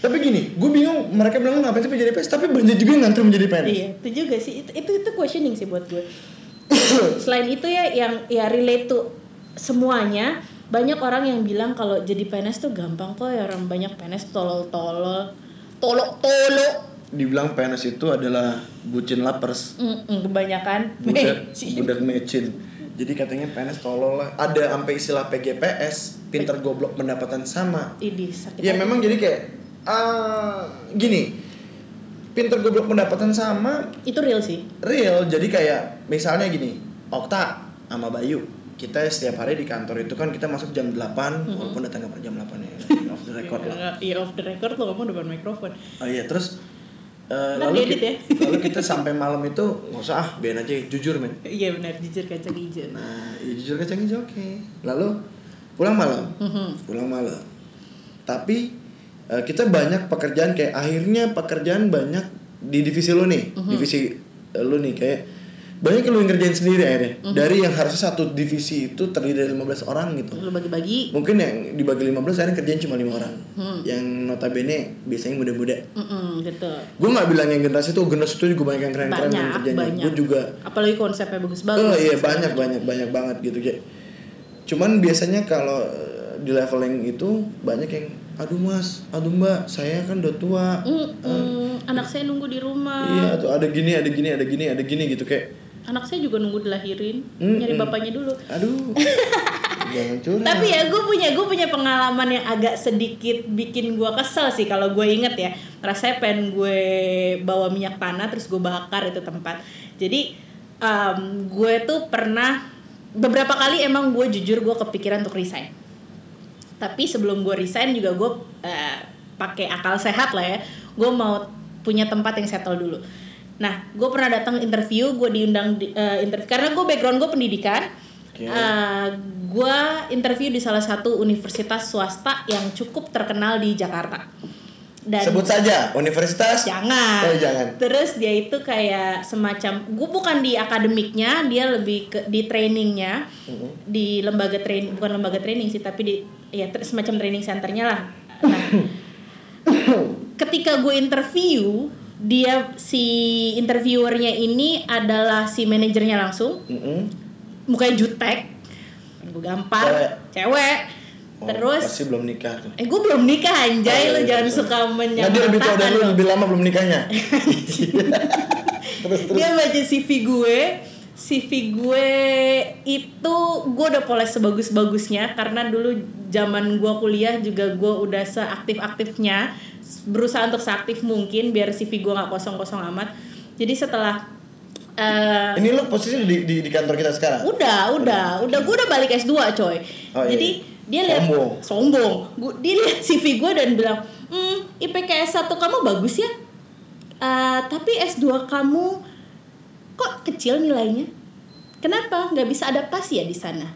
S2: Tapi gini, gue bingung mereka bilang "Lu ngapain sih menjadi PNS, tapi banyak juga yang ngantri menjadi PNS.
S1: Iya, itu juga sih. Itu itu, itu questioning sih buat
S2: [COUGHS]
S1: gue. Selain itu ya yang ya relate to semuanya, banyak orang yang bilang kalau jadi PNS tuh gampang kok ya orang banyak PNS tolol-tolol, tolok-tolok.
S2: Dibilang PNS itu adalah bucin lapers,
S1: Mm-mm, kebanyakan [LAUGHS]
S2: budak
S1: Meci.
S2: budak mecin. Jadi katanya PNS tolol lah. Ada sampai istilah PGPS, pinter goblok pendapatan sama.
S1: Ini sakit.
S2: Ya
S1: hati.
S2: memang jadi kayak ah, gini. Pinter goblok pendapatan sama
S1: itu real sih.
S2: real. Jadi kayak misalnya gini, Okta sama Bayu. Kita setiap hari di kantor itu kan kita masuk jam 8 walaupun datang ke jam 8 ya. [LAUGHS] off the record
S1: [LAUGHS]
S2: lah.
S1: Iya off the record lo ngomong depan mikrofon.
S2: Oh iya, terus eh,
S1: Ntar diedit
S2: lalu, kita, lalu kita sampai malam itu nggak usah ah, biarin aja jujur men.
S1: Iya benar jujur kacang hijau.
S2: Nah, ya jujur kacang hijau oke. Lalu pulang malam.
S1: Mm-hmm.
S2: Pulang malam. Tapi eh, kita banyak pekerjaan kayak akhirnya pekerjaan banyak di divisi lu nih, divisi eh, lu nih kayak banyak yang lu yang kerjain sendiri akhirnya. Dari yang harusnya satu divisi itu terdiri dari 15 orang gitu.
S1: Lo bagi-bagi.
S2: Mungkin yang dibagi 15 akhirnya kerjain cuma lima orang. Yang notabene biasanya muda-muda.
S1: Mm-mm, gitu.
S2: Gue nggak bilang yang generasi itu, generasi itu juga banyak yang keren-keren yang
S1: Banyak,
S2: kerjanya.
S1: banyak.
S2: Gue juga
S1: Apalagi konsepnya bagus-bagus.
S2: Oh iya banyak banyak banyak banget gitu kayak. Cuman biasanya kalau eh, di leveling itu banyak yang aduh mas, aduh mbak, saya kan udah tua.
S1: Hmm. Mm-mm, Anak saya nunggu di rumah.
S2: Iya atau ada gini, ada gini, ada gini, ada gini gitu kayak.
S1: Anak saya juga nunggu dilahirin.
S2: Mm-mm.
S1: Nyari bapaknya dulu. [LAUGHS]
S2: Aduh. jangan curhat.
S1: Tapi ya gue punya gue punya pengalaman yang agak sedikit bikin gue kesel sih kalau gue inget ya. Rasanya pengen gue bawa minyak tanah terus gue bakar itu tempat. Jadi em, gue tuh pernah beberapa kali emang gue jujur gue kepikiran untuk resign. Tapi sebelum gue resign juga gue eh, pakai akal sehat lah ya. Gue mau punya tempat yang settle dulu. Nah, gue pernah datang interview, gue diundang di, eh, interview karena gue background gue pendidikan.
S2: Oke.
S1: Eh, gua interview di salah satu universitas swasta yang cukup terkenal di Jakarta. Dan Ya.
S2: Sebut saja universitas.
S1: jangan.
S2: Oh, jangan.
S1: Terus dia itu kayak semacam gue bukan di akademiknya, dia lebih ke di trainingnya
S2: Mm-hmm.
S1: di lembaga training bukan lembaga training sih tapi di ya ter- semacam training centernya lah.
S2: [COUGHS]
S1: Nah, ketika gue interview dia si interviewernya ini adalah si manajernya langsung
S2: Mm-mm.
S1: mukanya jutek gue gampar
S2: Cewek.
S1: cewek
S2: Oh,
S1: terus
S2: pasti belum nikah tuh.
S1: eh gue belum nikah anjay
S2: Oh,
S1: lo
S2: iya,
S1: jangan
S2: iya.
S1: suka
S2: Nah, dia lebih tua dari
S1: menyamakan
S2: lu
S1: lo.
S2: lebih lama belum
S1: [LAUGHS]
S2: nikahnya. terus terus.
S1: dia baca CV gue CV gue itu gue udah poles sebagus-bagusnya karena dulu zaman gue kuliah juga gue udah seaktif-aktifnya berusaha untuk seaktif mungkin biar CV gue nggak kosong-kosong amat jadi setelah eh,
S2: Ini lu posisi di, di, di kantor kita sekarang.
S1: Udah, udah, udah. Gue udah balik S2, coy.
S2: Oh, iya,
S1: Jadi
S2: iya.
S1: dia lihat
S2: Sombong.
S1: sombong. Gua, dia lihat [LAUGHS] CV gue dan bilang, "Hmm, IPKS 1 kamu bagus ya. Eh, tapi S2 kamu kok kecil nilainya? Kenapa nggak bisa adaptasi ya di sana?"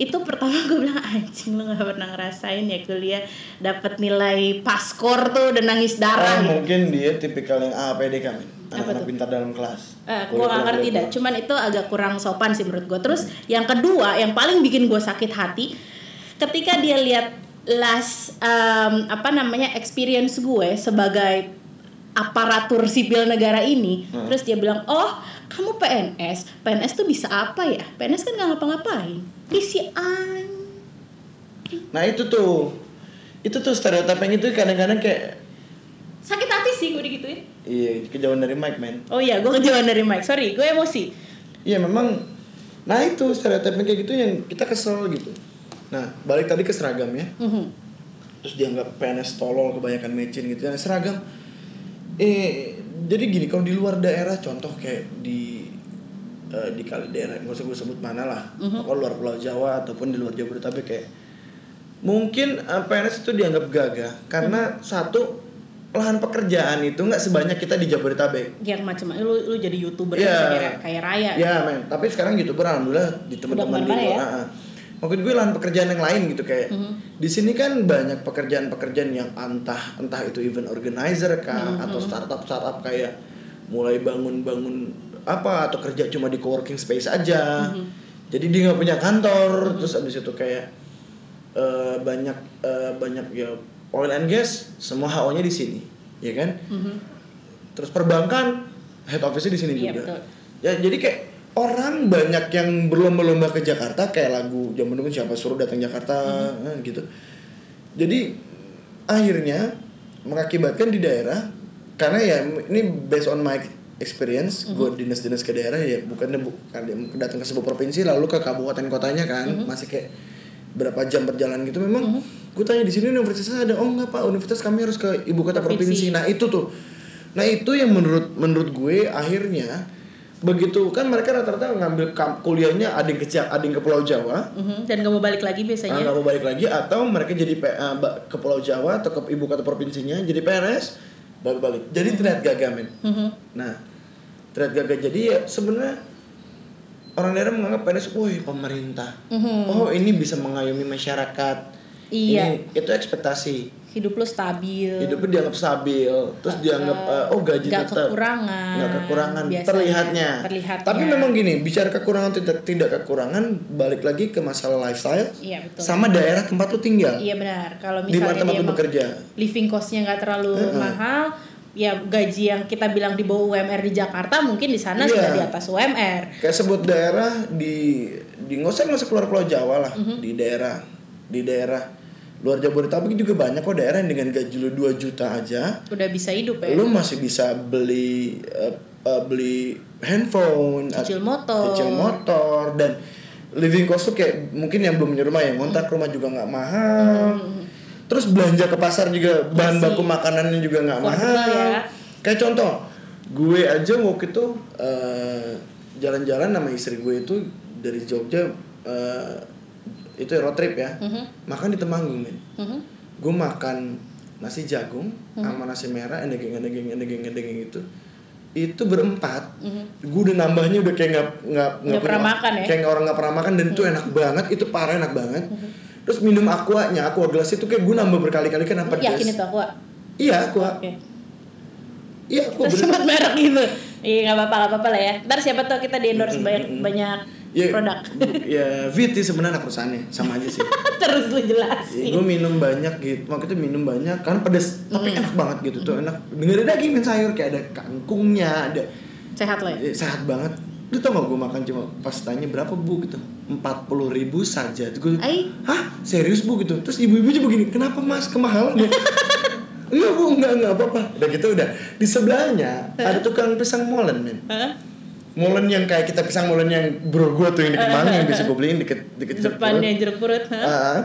S1: itu pertama gue bilang [LAUGHS] anjing lu nggak pernah ngerasain ya kuliah dapat nilai paskor tuh dan nangis
S2: Oh,
S1: darah gitu.
S2: mungkin dia tipikal yang APD kami. kan, Anak-anak
S1: tuh?
S2: pintar dalam kelas.
S1: Eh, gue gak
S2: Kulit kulit
S1: ngerti
S2: kulit
S1: dah,
S2: kulit.
S1: cuman itu agak kurang sopan sih menurut gue. Terus yang kedua, yang paling bikin gue sakit hati, ketika dia lihat last em, apa namanya experience gue sebagai aparatur sipil negara ini, terus dia bilang, oh kamu PNS, PNS tuh bisa apa ya? PNS kan gak ngapa-ngapain. Isi an.
S2: Nah itu tuh, itu tuh stereotip yang itu kadang-kadang kayak
S1: Sakit hati sih gue digituin.
S2: Iya, kejauhan dari mic, man.
S1: Oh iya, gue kejauhan dari Mike. Sorry, gue emosi.
S2: Iya, memang. Nah, itu stereotipnya kayak gitu yang kita kesel gitu. Nah, balik tadi ke seragam ya.
S1: Mhm.
S2: Terus dianggap PNS tolol kebanyakan mecin gitu. Nah, seragam. Eh, jadi gini, kalau di luar daerah, contoh kayak di eh, di kali daerah, nggak usah gue sebut mana lah. Kalau luar Pulau Jawa ataupun di luar Jabodetabek kayak mungkin eh, PNS itu dianggap gagah karena satu lahan pekerjaan itu nggak sebanyak kita di Jabodetabek.
S1: Yang macam lu lu jadi youtuber
S2: Iya.
S1: yang kayak- kayak raya.
S2: Ya men, tapi sekarang youtuber alhamdulillah di
S1: Iya.
S2: teman-teman
S1: Udah
S2: di
S1: kemana-mana ya? Mhm.
S2: Ah, ah. Maksud gue lahan pekerjaan yang lain gitu kayak di sini kan banyak pekerjaan-pekerjaan yang entah entah itu event organizer kah
S1: Mhm,
S2: atau startup-startup kayak mulai bangun-bangun apa atau kerja cuma di coworking space aja.
S1: Mhm.
S2: Jadi dia nggak punya kantor, terus abis itu kayak eh, banyak eh, banyak ya oil and gas semua HO-nya di sini, ya kan?
S1: Mhm.
S2: terus perbankan head office-nya di sini
S1: Iya,
S2: juga.
S1: betul.
S2: Ya jadi kayak orang banyak yang berlomba-lomba ke Jakarta kayak lagu zaman dulu siapa suruh datang Jakarta
S1: Mm-hmm.
S2: nah, gitu. Jadi akhirnya mengakibatkan di daerah karena ya ini based on my experience gue dinas-dinas ke daerah ya bukannya bukan datang ke sebuah provinsi lalu ke kabupaten kotanya kan masih kayak berapa jam berjalan gitu memang gue tanya di sini universitas ada oh enggak pak universitas kami harus ke ibu kota provinsi.
S1: Provinsi.
S2: Nah itu tuh, nah itu yang menurut menurut gue akhirnya begitu kan mereka rata-rata ngambil kam- kuliahnya ada yang ke Ja- ada yang ke Pulau Jawa,
S1: Mhm, dan gak mau balik lagi
S2: nah,
S1: biasanya
S2: nggak mau balik lagi atau mereka jadi P- eh, ba- ke Pulau Jawa atau ke ibu kota provinsinya jadi PNS baru balik. Jadi
S1: Hmm.
S2: terlihat gagah men.
S1: Mhm.
S2: Nah terlihat gagah jadi ya sebenarnya orang daerah menganggap PNS, woi pemerintah,
S1: Mhm.
S2: oh ini bisa mengayomi masyarakat,
S1: Iya.
S2: ini itu ekspektasi
S1: hidup lu stabil
S2: hidupnya dianggap stabil terus dianggap eh, oh gaji
S1: nggak
S2: tetap
S1: kekurangan,
S2: nggak kekurangan
S1: biasanya.
S2: terlihatnya.
S1: Terlihatnya.
S2: tapi memang gini bicara kekurangan tidak tidak kekurangan balik lagi ke masalah lifestyle
S1: iya betul
S2: sama daerah tempat lu tinggal
S1: iya benar kalau
S2: di mana
S1: misalnya dia
S2: tempat lu
S1: emang
S2: bekerja
S1: living costnya nggak terlalu mahal ya gaji yang kita bilang di bawah UMR di Jakarta mungkin di sana
S2: Iya.
S1: sudah di atas UMR
S2: kayak sebut daerah di di nggak usah nggak usah keluar pulau Jawa lah
S1: Mhm.
S2: di daerah di daerah luar Jabodetabek juga banyak kok daerah yang dengan gaji lu 2 juta aja
S1: udah bisa hidup ya
S2: lu masih bisa beli eh, eh, beli handphone
S1: Cicil
S2: at-
S1: motor.
S2: cicil motor dan living cost tuh kayak mungkin yang belum punya rumah ya ngontrak
S1: Hmm.
S2: rumah juga nggak mahal terus belanja ke pasar juga bahan
S1: Masih.
S2: baku makanannya juga nggak
S1: Affordable
S2: mahal
S1: ya.
S2: kayak contoh gue aja waktu itu eh, jalan-jalan sama istri gue itu dari Jogja eh, itu road trip ya
S1: Mhm,
S2: makan di Temanggung men
S1: mhm.
S2: gue makan nasi jagung
S1: Hmm.
S2: sama nasi merah endegeng endegeng endegeng endegeng itu itu berempat
S1: mhm.
S2: gue udah nambahnya udah kayak nggak nggak nggak
S1: Nggak pernah
S2: punya-
S1: makan ya?
S2: kayak nggak orang nggak pernah makan dan itu enak banget itu parah enak banget terus minum aquanya aqua gelas itu kayak gue nambah berkali-kali kenapa
S1: Lu yakin itu aku Wak?
S2: iya aqua
S1: Oke.
S2: iya aqua
S1: Terus
S2: bener.
S1: sebut merek gitu iya nggak apa-apa nggak apa-apa lah ya ntar siapa tahu kita di
S2: Mhm,
S1: endorse banyak banyak
S2: Ya,
S1: produk
S2: bu- ya Viti sebenarnya anak perusahaannya sama aja
S1: [LAUGHS]
S2: sih
S1: Kan terus lu
S2: Ya,
S1: jelasin
S2: gue minum banyak gitu waktu itu minum banyak kan pedes tapi
S1: Hmm.
S2: enak banget gitu tuh enak dengerin daging dan sayur kayak ada kangkungnya ada
S1: sehat lo ya
S2: Eh, sehat banget lu tau gak gue makan cuma pas tanya berapa bu gitu empat puluh ribu saja Terus gue
S1: Ai.
S2: hah serius bu gitu terus ibu-ibu aja begini kenapa mas kemahalan
S1: [LAUGHS]
S2: ya Iya bu, enggak, enggak apa-apa Udah gitu udah Di sebelahnya
S1: Eh.
S2: ada tukang pisang molen men
S1: Hah?
S2: Molen yang kayak kita pisang molen yang bro gue tuh yang di Kemang Yang bisa gue beliin deket, deket Jeruk
S1: Eh.
S2: Purut.
S1: depannya jeruk purut ha?
S2: Ah,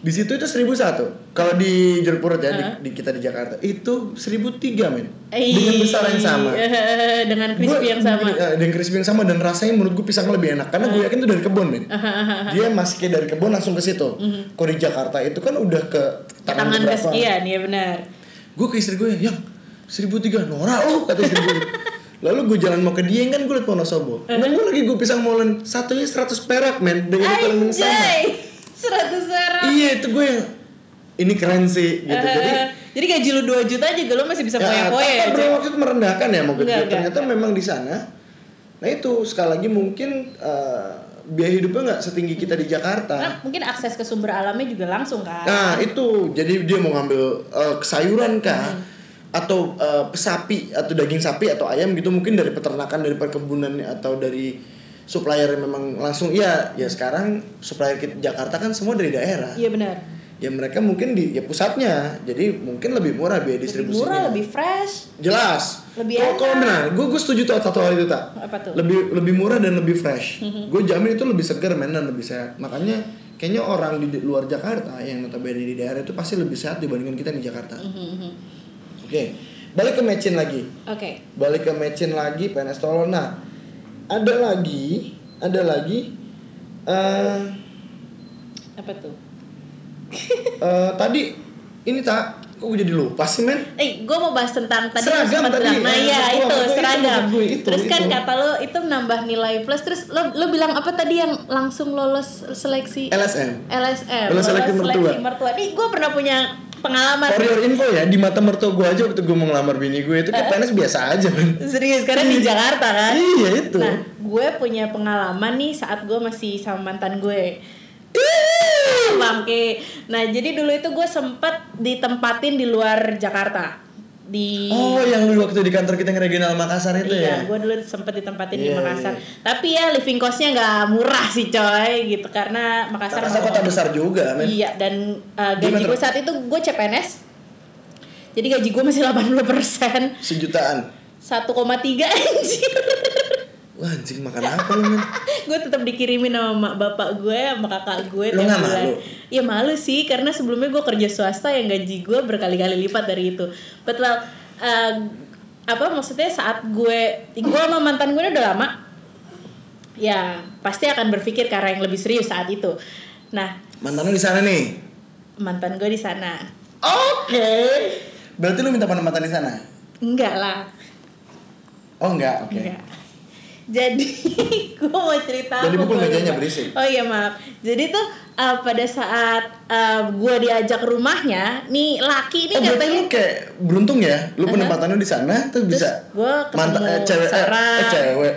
S2: Di situ itu seribu satu Kalau di Jeruk Purut ya, di- di, kita di Jakarta Itu seribu tiga men Dengan besar yang sama
S1: Eh, dengan crispy
S2: Gua-
S1: yang sama.
S2: eh, dengan crispy yang sama dan rasanya menurut gue pisang lebih enak karena gue yakin itu dari kebun men dia masih kayak dari kebun langsung ke situ kalau di Jakarta itu kan udah ke
S1: Mhm.
S2: tangan,
S1: Tangan iya.
S2: berapa
S1: kesekian ya benar.
S2: gue ke istri gue yang seribu tiga Nora lu oh," kata istri gue Lalu gue jalan mau ke Dieng kan gue liat Wonosobo. Nah gue lagi gue pisang molen satunya 100 perak men dengan ukuran yang sama.
S1: Anjay. 100 perak.
S2: Iya itu gue yang ini keren sih gitu.
S1: Eh,
S2: Jadi
S1: jadi gaji lu 2 juta juga lu masih bisa
S2: Ya,
S1: poya-poya ya.
S2: tak perlu
S1: Jack.
S2: waktu itu merendahkan ya mau gitu.
S1: Enggak, enggak,
S2: Ternyata memang di sana. Nah itu sekali lagi mungkin eh, biaya hidupnya nggak setinggi kita di
S1: Karena
S2: Jakarta.
S1: mungkin akses ke sumber alamnya juga langsung kan.
S2: Nah itu jadi dia mau ngambil eh, sayuran kah?
S1: Hmm.
S2: Atau eh, sapi atau daging sapi atau ayam gitu mungkin dari peternakan dari perkebunan atau dari supplier yang memang langsung ya ya sekarang supplier kita Jakarta kan semua dari daerah
S1: Iya benar.
S2: ya mereka mungkin di ya pusatnya jadi mungkin lebih murah biaya
S1: Lebih
S2: distribusinya
S1: murah, lebih fresh.
S2: jelas
S1: Lebih
S2: Kalau- kalau
S1: enak.
S2: benar gue gue setuju tuh satu hal itu tak
S1: Apa tuh? Mhm.
S2: lebih lebih murah dan lebih fresh gue jamin itu lebih segar men dan lebih sehat makanya kayaknya orang di di luar Jakarta yang notabene di daerah itu pasti lebih sehat dibandingkan kita di Jakarta
S1: Mhm.
S2: oke balik ke mecin lagi
S1: Oke.
S2: balik ke mecin lagi PNS tolol nah ada lagi ada lagi eh
S1: Apa tuh?
S2: eh, tadi ini tak kok gue jadi lupa sih men
S1: Eh, gue mau bahas tentang tadi lu
S2: Seragam
S1: sempat
S2: tadi.
S1: bilang, nah
S2: Nah,
S1: ya
S2: itu,
S1: itu,
S2: itu, itu
S1: seragam.
S2: maksud gue, itu, gitu.
S1: terus kan
S2: itu.
S1: kata lo itu nambah nilai plus. Terus lo lo bilang apa tadi yang langsung lolos seleksi
S2: LSM
S1: LSM?
S2: Lolos seleksi mertua.
S1: mertua. Nih gue pernah punya pengalaman.
S2: For your info ya, di mata mertua gue aja waktu gue mau ngelamar bini gue itu kayak PNS biasa aja men
S1: Serius karena di Jakarta Eh. kan.
S2: Iya itu
S1: Nah, gue punya pengalaman nih saat gue masih sama mantan gue. Bangke. Nah, jadi dulu itu gue sempet ditempatin di luar Jakarta. Di
S2: Oh yang lu waktu di kantor kita yang regional Makassar itu
S1: Iya,
S2: ya?
S1: gue dulu sempet ditempatin di
S2: Iya,
S1: Makassar. Tapi ya living costnya nggak murah sih coy, gitu karena Makassar.
S2: Makassar
S1: mau-
S2: kota besar juga men
S1: Iya, dan uh,
S2: Gimana,
S1: gaji gue
S2: Ro?
S1: saat itu gue CPNS. Jadi gaji gue masih 80 persen,
S2: Sejutaan
S1: 1,3 [LAUGHS] anjir.
S2: Wah anjing makan apa lu men?
S1: gue tetap dikirimin sama mak bapak gue, sama kakak gue.
S2: Lu
S1: tiap
S2: nggak
S1: bulan.
S2: malu?
S1: Iya malu sih, karena sebelumnya gue kerja swasta yang gaji gue berkali-kali lipat dari itu. But well, uh, apa maksudnya saat gue, gue sama mantan gue ini udah lama, ya pasti akan berpikir ke arah yang lebih serius saat itu. Nah,
S2: Mantan lu di sana nih
S1: mantan gue di sana.
S2: Oke Berarti lu minta mantan mantan di sana?
S1: Enggak lah,
S2: Oh enggak, oke
S1: enggak. Iya. Jadi [LAUGHS] gue mau cerita
S2: Jadi
S1: apa,
S2: pukul
S1: gua
S2: mejanya
S1: lupa.
S2: berisik.
S1: Oh iya maaf. Jadi tuh uh, pada saat uh, gue diajak ke rumahnya, nih laki ini
S2: Oh berarti
S1: katanya
S2: lu kayak beruntung ya? Lu penempatannya di sana terus
S1: Terus
S2: bisa
S1: gua ketemu
S2: mantan eh, cewek eh,
S1: Sarah.
S2: eh, cewek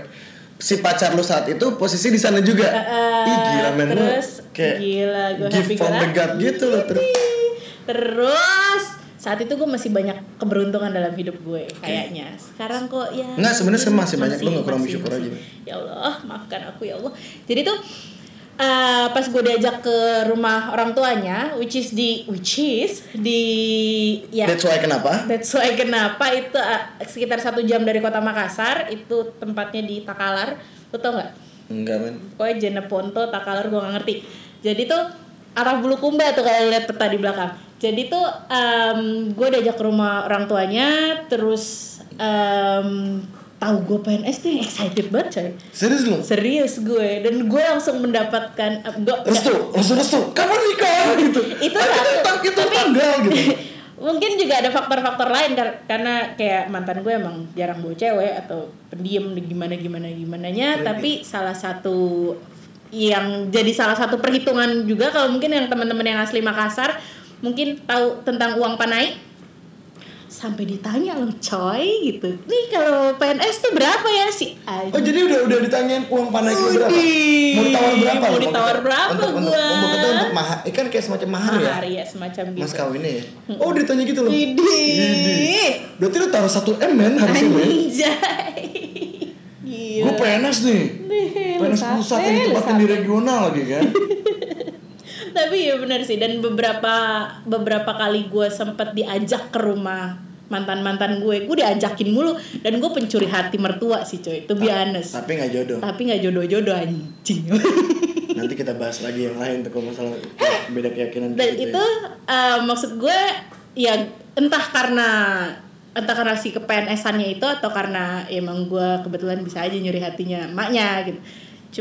S2: si pacar lu saat itu posisi di sana juga.
S1: Eh,
S2: Ih gila men lu
S1: terus
S2: kayak
S1: gila gue
S2: gift
S1: happy
S2: from
S1: gua
S2: the god
S1: lagi.
S2: gitu loh terus.
S1: Terus saat itu gue masih banyak keberuntungan dalam hidup gue kayaknya. Sekarang kok ya.
S2: Nenggak, sebenarnya
S1: mungkin
S2: masih banyak. Lu nggak kurang
S1: masih,
S2: bersyukur
S1: masih.
S2: aja.
S1: Ya Allah maafkan aku ya Allah. Jadi tuh eh, pas gue diajak ke rumah orang tuanya, which is di which is di ya
S2: That's why kenapa?
S1: That's why kenapa itu ah, sekitar satu jam dari kota Makassar itu tempatnya di Takalar, lo tau nggak?
S2: Enggak men.
S1: Pokoknya Jeneponto, Takalar gue nggak ngerti. Jadi tuh arah Bulukumba tuh kalau lihat peta di belakang. Jadi tuh em, gue diajak ke rumah orang tuanya, terus em, tahu gue PNS tuh yang excited banget coy.
S2: Serius lu?
S1: Serius gue dan gue langsung mendapatkan eh, gua-
S2: Restu, restu, restu. Kapan
S1: [LAUGHS]
S2: nikah gitu?
S1: Itu
S2: Ah,
S1: satu.
S2: itu, tang- itu tanggal
S1: [LAUGHS]
S2: gitu.
S1: mungkin juga ada faktor-faktor lain kar- karena kayak mantan gue emang jarang bawa cewek atau pendiam gimana gimana gimana nya tapi salah satu yang jadi salah satu perhitungan juga kalau mungkin yang teman-teman yang asli Makassar mungkin tahu tentang uang panai sampai ditanya loh coy gitu nih kalau PNS tuh berapa ya si Aji?"
S2: Oh jadi udah udah ditanyain uang panai gua berapa?
S1: Udih.
S2: Mau ditawar berapa?
S1: Mau
S2: lu?
S1: ditawar berapa
S2: untuk, untuk,
S1: gua?
S2: Untuk, untuk, untuk mahar, eh, kan kayak semacam mahar, ya?
S1: mahar ya semacam
S2: Mas
S1: gitu
S2: kawinnya ya? Oh udah ditanya gitu loh? Widih.
S1: Widih.
S2: Berarti lu taruh 1 M men harusnya men?
S1: Anjay. Gila.
S2: Gue PNS nih Eh,
S1: Nih,
S2: PNS
S1: lu
S2: pusat
S1: sampai,
S2: yang
S1: lu
S2: ditempatin di regional lagi kan
S1: Tapi ya benar sih dan beberapa beberapa kali gue sempet diajak ke rumah mantan-mantan gue, gue diajakin mulu dan gue pencuri hati mertua sih coy, itu bianes.
S2: Tapi Iya, gak jodoh
S1: Tapi nggak jodoh-jodoh anjing.
S2: Nanti kita bahas lagi yang lain tuh kalau masalah eh, beda keyakinan
S1: dan
S2: gitu ya.
S1: itu eh, maksud gue ya entah karena entah karena si kepNS-annya itu atau karena ya emang gue kebetulan bisa aja nyuri hatinya maknya gitu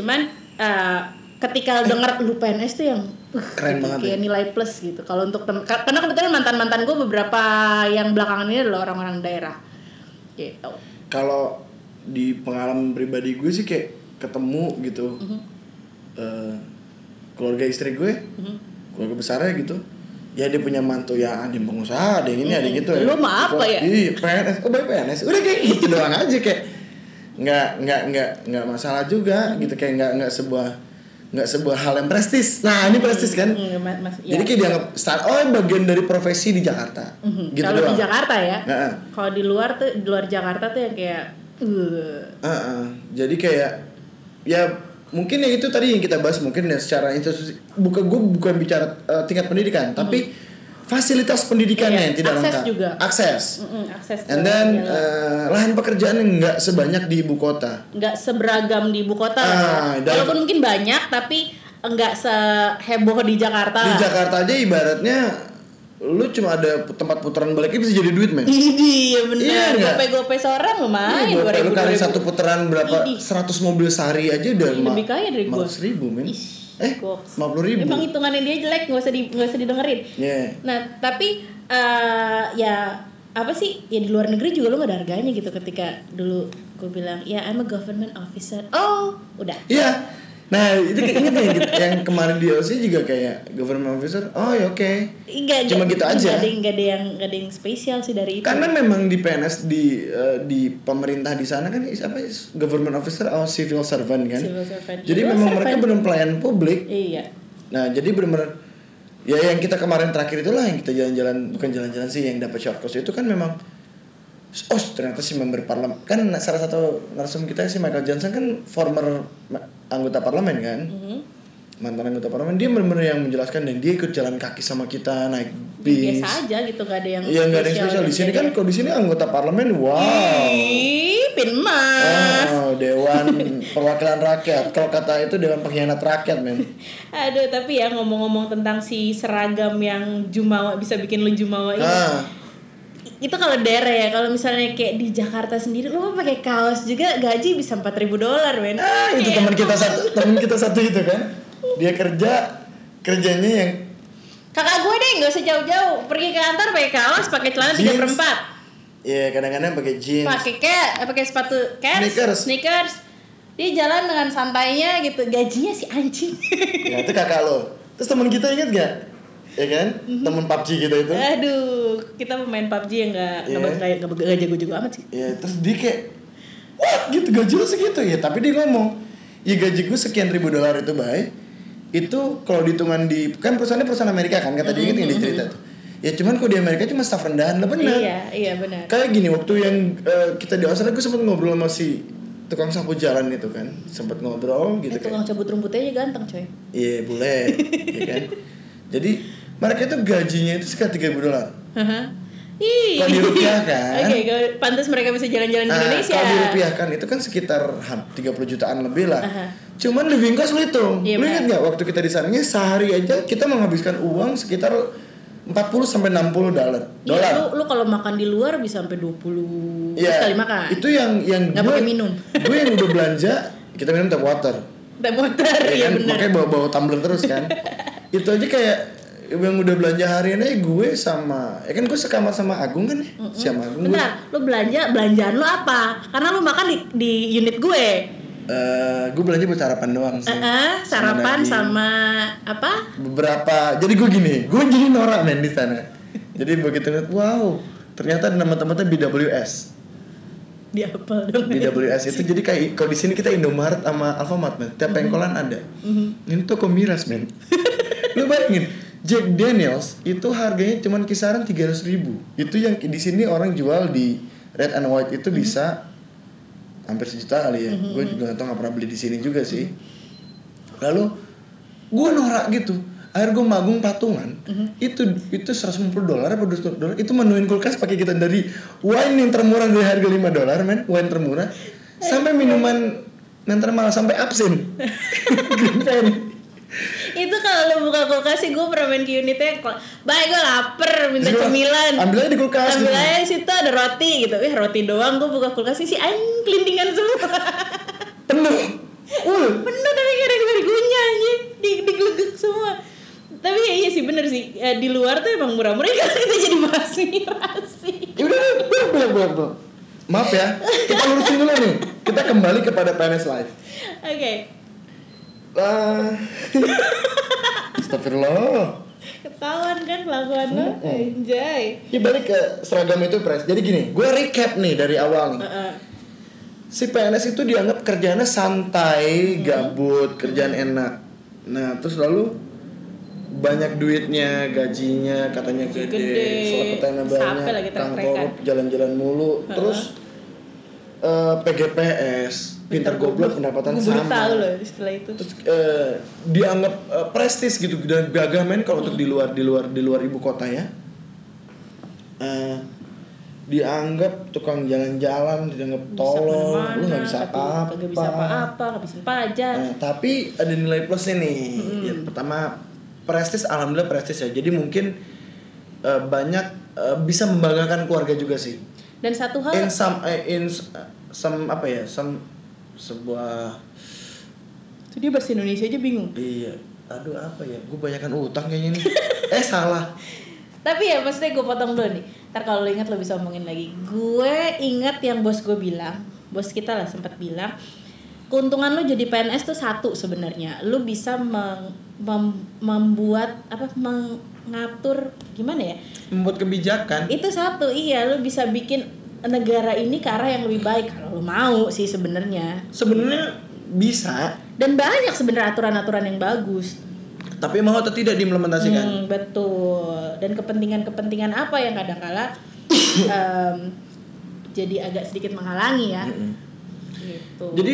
S1: cuman eh, ketika denger lu PNS tuh yang uh,
S2: Keren
S1: gitu,
S2: banget ya.
S1: kayak nilai plus gitu kalau untuk tem- ka- karena kebetulan mantan mantan gue beberapa yang belakangan ini adalah orang-orang daerah gitu
S2: Kalau di pengalaman pribadi gue sih kayak ketemu gitu
S1: Mm-hmm.
S2: Eh, keluarga istri gue
S1: Mm-hmm.
S2: keluarga besarnya gitu ya dia punya mantu ya ada yang pengusaha ada yang ini ada yang gitu
S1: Mm-hmm. Lu mah apa ya?
S2: iya PNS oh baik PNS udah kayak
S1: [LAUGHS]
S2: gitu doang aja kayak nggak nggak nggak nggak masalah juga
S1: Mm-hmm.
S2: gitu kayak nggak nggak sebuah nggak sebuah hal yang prestis nah ini prestis kan
S1: Hmm, mas- mas- ya.
S2: jadi kayak dianggap start oh bagian dari profesi di Jakarta
S1: Mhm.
S2: gitu
S1: Kalau
S2: doang Nah.
S1: di Jakarta ya.
S2: Heeh.
S1: Kalau di luar tuh di luar Jakarta tuh yang kayak uh, "Ugh."
S2: Heeh. jadi kayak ya mungkin ya itu tadi yang kita bahas mungkin ya secara institusi bukan gue bukan bicara eh, tingkat pendidikan tapi fasilitas pendidikannya
S1: Hmm. Iya,
S2: yang tidak
S1: akses
S2: lengkap
S1: juga.
S2: akses
S1: Mm-mm, akses ke
S2: and then
S1: jalan.
S2: eh, lahan pekerjaan yang nggak sebanyak di ibu kota
S1: nggak seberagam di ibu kota lah ya.
S2: Ah, dan-
S1: walaupun mungkin banyak tapi nggak seheboh di Jakarta
S2: di
S1: lah. [LAUGHS]
S2: Jakarta aja ibaratnya lu cuma ada tempat putaran baliknya bisa jadi duit men
S1: Idi, ya
S2: Iya,
S1: benar.
S2: nggak?
S1: Gope-gope seorang mah main
S2: Iya, gua- lu kali
S1: 2000.
S2: satu putaran berapa?
S1: Idih.
S2: 100 mobil sehari aja udah
S1: Ih, lebih Iya, kaya dari gua.
S2: ribu men
S1: Ih,
S2: Eh,
S1: goks.
S2: 50 ribu
S1: Emang hitungannya dia jelek, nggak usah di nggak usah didengerin.
S2: Iya.
S1: Nah, tapi eh, ya apa sih? Ya di luar negeri juga lo nggak ada harganya gitu ketika dulu gue bilang, ya I'm a government officer. Oh, udah.
S2: Iya. Nah, itu kayak inget ya, gitu. yang kemarin di LC juga kayak government officer. Oh, ya oke.
S1: Enggak,
S2: Cuma gitu
S1: Gak
S2: aja.
S1: ada, nggak ada yang nggak ada yang spesial sih dari itu.
S2: Karena memang di PNS di eh, di pemerintah di sana kan is- apa is government officer atau civil servant kan.
S1: Civil servant.
S2: Jadi
S1: Civil
S2: memang
S1: servant.
S2: mereka belum pelayan publik.
S1: Iya.
S2: Nah, jadi benar-benar ya yang kita kemarin terakhir itulah yang kita jalan-jalan bukan jalan-jalan sih yang dapat short course itu kan memang oh ternyata si member parlemen kan salah satu narsum kita si Michael Johnson kan former ma- anggota parlemen kan
S1: Mhm.
S2: mantan anggota parlemen dia benar-benar yang menjelaskan dan dia ikut jalan kaki sama kita naik bis
S1: Biasa aja gitu nggak ada yang gitu
S2: ya nggak ada yang spesial di sini kan kalau di sini anggota parlemen wow Eh.
S1: Ih, pin mas.
S2: Wow, dewan perwakilan rakyat kalau kata itu dewan pengkhianat rakyat men
S1: Aduh, tapi ya ngomong-ngomong tentang si seragam yang jumawa bisa bikin lu jumawa ini.
S2: ah
S1: Itu kalau daerah ya, kalau misalnya kayak di Jakarta sendiri lu mau pakai kaos juga gaji bisa 4000 dolar, men.
S2: Ah, itu
S1: Kayak,
S2: teman kita satu, teman kita satu itu kan. Dia kerja kerjanya yang
S1: Kakak gue deh nggak usah jauh-jauh, pergi ke kantor pakai kaos, pakai celana
S2: Jeans.
S1: 3 per 4.
S2: ya kadang-kadang pakai jeans.
S1: Pakai cat, eh, pakai sepatu cats,
S2: Sneakers.
S1: sneakers. Dia jalan dengan santainya gitu, gajinya si anjing.
S2: Ya itu kakak lo. Terus teman kita inget gak? Ya kan? Teman PUBG kita itu.
S1: Eh, [LAUGHS] Aduh, kita pemain PUBG yang nggak
S2: Iya.
S1: nggak nggak- nggak- nggak jago-jago amat sih.
S2: Ya terus dia kayak What? Gitu gaji lo segitu ya Tapi dia ngomong Ya gaji gue sekian ribu dolar itu baik Itu kalau dihitungan di Kan perusahaannya perusahaan Amerika kan Kata dia inget yang dia cerita tuh Ya cuman kalau di Amerika cuma staff rendahan lah bener
S1: Mm-hmm, Iya, iya benar.
S2: kayak gini waktu yang eh, kita di Australia gue sempat ngobrol sama si tukang sapu jalan itu kan sempat ngobrol gitu
S1: Eh,
S2: kan
S1: tukang cabut rumputnya aja ganteng coy [LAUGHS]
S2: iya boleh ya kan jadi mereka itu gajinya itu sekitar tiga ribu dolar
S1: Ih. [LAUGHS]
S2: Kalau kan. dirupiahkan-
S1: Oke, kalau pantas mereka bisa jalan-jalan di
S2: Nah,
S1: Indonesia
S2: kalau dirupiahkan itu kan sekitar ham- 30 jutaan lebih lah.
S1: Aha.
S2: Cuman living cost lu hitung.
S1: Iya,
S2: lu
S1: benar.
S2: ingat nggak waktu kita di sananya sehari aja kita menghabiskan uang sekitar 40 sampai 60 dolar.
S1: Iya,
S2: Dolar.
S1: lu, lu kalau makan di luar bisa sampai 20
S2: Iya.
S1: kali makan
S2: Itu yang yang
S1: Nggak
S2: gue-
S1: pakai
S2: [LAUGHS]
S1: minum.
S2: Gue yang udah belanja, kita minum tap water.
S1: Dan motor,
S2: ya
S1: [LAUGHS] iya
S2: kan
S1: benar
S2: makanya bawa bawa tumbler terus
S1: [LAUGHS]
S2: kan itu aja kayak yang udah belanja harian aja gue sama ya kan gue sekamar sama Agung kan ya sama Agung gue
S1: Bentar, lu belanja, belanjaan lu apa? Karena lu makan di, di unit gue
S2: Eh, gue belanja buat sarapan doang
S1: Eh,
S2: sih
S1: eh, Sarapan
S2: Iya. daging.
S1: sama, apa?
S2: beberapa jadi gue gini gue jadi norak men di sana jadi begitu lihat wow ternyata nama tempatnya BWS
S1: Di apel dong
S2: BWS itu jadi kayak kalau di sini kita Indomaret sama Alfamart men tiap pengkolan ada ini toko miras men [LAUGHS] lu bayangin Jack Daniels itu harganya cuman kisaran 300.000 ribu itu yang di sini orang jual di red and white itu bisa hampir sejuta kali ya gue juga nggak tahu nggak pernah beli di sini juga sih lalu gue norak gitu akhirnya gue magung patungan
S1: Mhm.
S2: itu itu 150 dolar apa 200 dolar itu menuin kulkas pakai kita dari wine yang termurah dari harga 5 dolar men wine termurah sampai minuman yang termahal sampai absen Green Pen.
S1: [LAUGHS] Itu kalau lu buka kulkas sih, gue pernah main ke unitnya Baik, gue lapar, minta
S2: Terus gua,
S1: cemilan
S2: Iya. ambil aja di kulkas
S1: Ambil
S2: gitu.
S1: aja situ ada roti gitu. Wih, roti doang gue buka kulkas isi anjing kelintingan semua.
S2: penuh full
S1: Penuh tapi gak ada yang berguna anjing. Di digelegek semua. Tapi ya iya sih bener sih Eh, di [LAUGHS] luar tuh emang murah-murah kalau kita jadi bahas miras sih.
S2: ya udah udah, udah udah udah, udah Maaf ya, kita lurusin dulu nih. Kita kembali kepada PNS Live. Ah. [LAUGHS] Astagfirullah.
S1: ketahuan kan kelakuan lo anjay
S2: Ini Ya, balik ke seragam itu pres. Jadi gini, gue recap nih dari awal nih.
S1: Heeh.
S2: Si PNS itu dianggap kerjaannya
S1: Hmm.
S2: santai, gabut, kerjaan enak. Nah, terus lalu banyak duitnya, gajinya katanya
S1: Gaji
S2: gede,
S1: gede,
S2: selepetannya banyak,
S1: sampai lagi
S2: tukang
S1: trek-trekan.
S2: korup, jalan-jalan mulu. Terus eh, PGPS, pintar goblok,
S1: Gua
S2: pendapatan sama.
S1: baru tahu loh istilah itu
S2: terus eh, dianggap eh, prestis gitu dan gagah men kalau untuk di luar di luar di luar ibu kota ya Eh, dianggap tukang jalan-jalan dianggap tolong
S1: Bisa
S2: lu nggak bisa
S1: kemana-mana,
S2: apa-apa
S1: tapi nggak bisa apa-apa nggak bisa pajak
S2: Nah, tapi ada nilai plusnya nih Ya, pertama prestis alhamdulillah prestis ya jadi mungkin eh, banyak eh, bisa membanggakan keluarga juga sih
S1: dan satu hal
S2: in some eh, in s- some apa ya some sebuah
S1: itu dia bahasa Indonesia aja bingung
S2: Iya. Aduh apa ya? Gue banyakkan utang kayaknya nih. [LAUGHS] eh salah.
S1: tapi ya maksudnya gue potong dulu nih ntar kalau lo ingat lo bisa omongin lagi gue ingat yang bos gue bilang bos kita lah sempat bilang keuntungan lo jadi PNS tuh satu sebenarnya lo bisa meng- mem- membuat apa mengatur gimana ya
S2: Membuat kebijakan.
S1: itu satu iya lo bisa bikin negara ini ke arah yang lebih baik kalau lo mau sih sebenarnya
S2: Sebenarnya bisa,
S1: dan banyak sebenarnya aturan-aturan yang bagus
S2: tapi mau atau tidak diimplementasikan.
S1: Hmm, betul. Dan kepentingan-kepentingan apa yang
S2: [COUGHS]
S1: kadangkala em, jadi agak sedikit menghalangi ya. Gitu.
S2: Iya. Jadi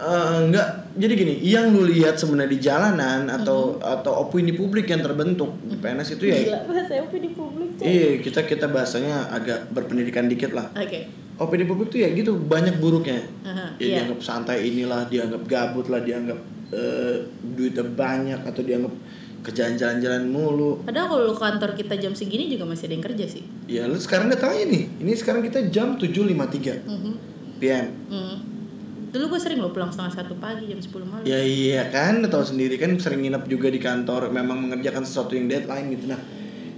S2: eh, enggak jadi gini, yang lu lihat sebenarnya di jalanan atau atau opini publik yang terbentuk di PNS itu ya
S1: gila bahasa OP di publik. coy.
S2: Iya, kita kita bahasanya agak berpendidikan dikit lah.
S1: Oke.
S2: Opini publik tuh ya gitu banyak buruknya.
S1: Aha,
S2: Ya,
S1: iya.
S2: dianggap santai inilah, dianggap gabut lah, dianggap eh, duitnya banyak atau dianggap kerjaan jalan-jalan mulu.
S1: Padahal kalau lu kantor kita jam segini juga masih ada yang kerja sih.
S2: Ya lu sekarang datang aja nih. Ini sekarang kita jam 7.53
S1: Mhm.
S2: PM.
S1: Mhm. Dulu gue sering lo pulang setengah satu pagi jam 10 malam.
S2: Ya iya kan, lu tahu sendiri kan sering nginep juga di kantor, memang mengerjakan sesuatu yang deadline gitu. Nah,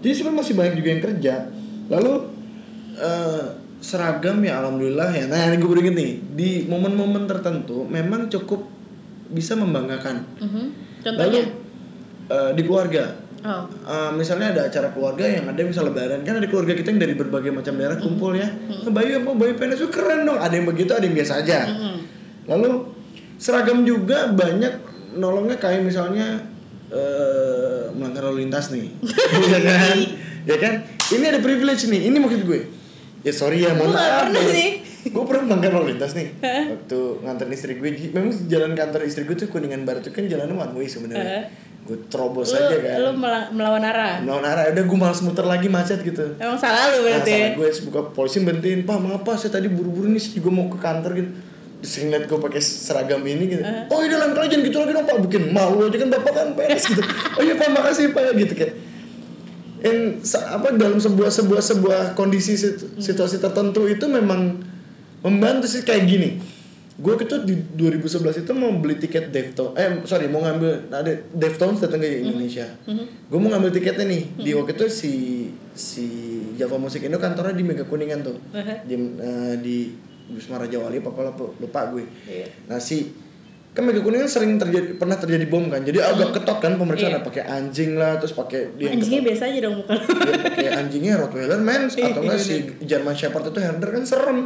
S2: jadi sebenarnya masih banyak juga yang kerja. Lalu eh, seragam ya alhamdulillah ya. Nah, ini gue baru inget nih, di momen-momen tertentu memang cukup bisa membanggakan.
S1: Mhm.
S2: Lalu
S1: Contohnya?
S2: eh, di keluarga,
S1: Oh.
S2: Eh, misalnya ada acara keluarga yang ada misal lebaran kan ada keluarga kita yang dari berbagai macam daerah kumpul ya
S1: Mm-hmm.
S2: Nah, Bayu apa Bayu PNS tuh keren dong ada yang begitu ada yang biasa aja
S1: Mm-hmm.
S2: lalu seragam juga banyak nolongnya kayak misalnya eh melanggar lalu lintas
S1: [LAUGHS]
S2: nih ya kan ya kan ini ada privilege nih ini maksud gue ya sorry ya mohon
S1: Gue nggak
S2: maaf
S1: pernah sih.
S2: gue pernah melanggar lalu lintas nih waktu nganterin istri gue di- memang jalan kantor istri gue tuh kuningan barat tuh kan jalannya one
S1: Eh.
S2: way sebenarnya gue
S1: Lu,
S2: terobos aja kan
S1: lu mela- melawan arah.
S2: Melawan arah, udah gue males muter lagi macet gitu
S1: Emang salah lu
S2: Nah,
S1: berarti. ya?
S2: salah gue buka polisi berhentiin Pak maaf pak saya tadi buru-buru nih saya juga mau ke kantor gitu Terus sering liat gue pakai seragam ini gitu Oh iya lain kali jangan gitu lagi dong pak Bikin malu aja kan bapak kan PNS gitu Oh iya pak makasih pak gitu kayak In, sa- apa dalam sebuah sebuah sebuah kondisi
S1: Hmm.
S2: situ- situasi tertentu itu memang membantu sih kayak gini gue itu di 2011 itu mau beli tiket Devtone eh sorry mau ngambil ada Deftones datang ke
S1: Hmm.
S2: Indonesia gue mau ngambil tiketnya nih di waktu itu si si Java Musik Indo kantornya di Mega Kuningan tuh di, eh, di Wisma Raja Wali apa apa lupa, lupa gue
S1: Iya.
S2: nah si kan Mega Kuningan sering terjadi pernah terjadi bom kan jadi agak ketok kan
S1: Hmm.
S2: pemeriksaan
S1: Iya.
S2: pakai anjing lah terus pakai dia yang
S1: Anjingnya biasa aja dong muka lu. [LAUGHS]
S2: dia pakai anjingnya Rottweiler men
S1: Iya,
S2: atau enggak si German Shepherd itu herder kan serem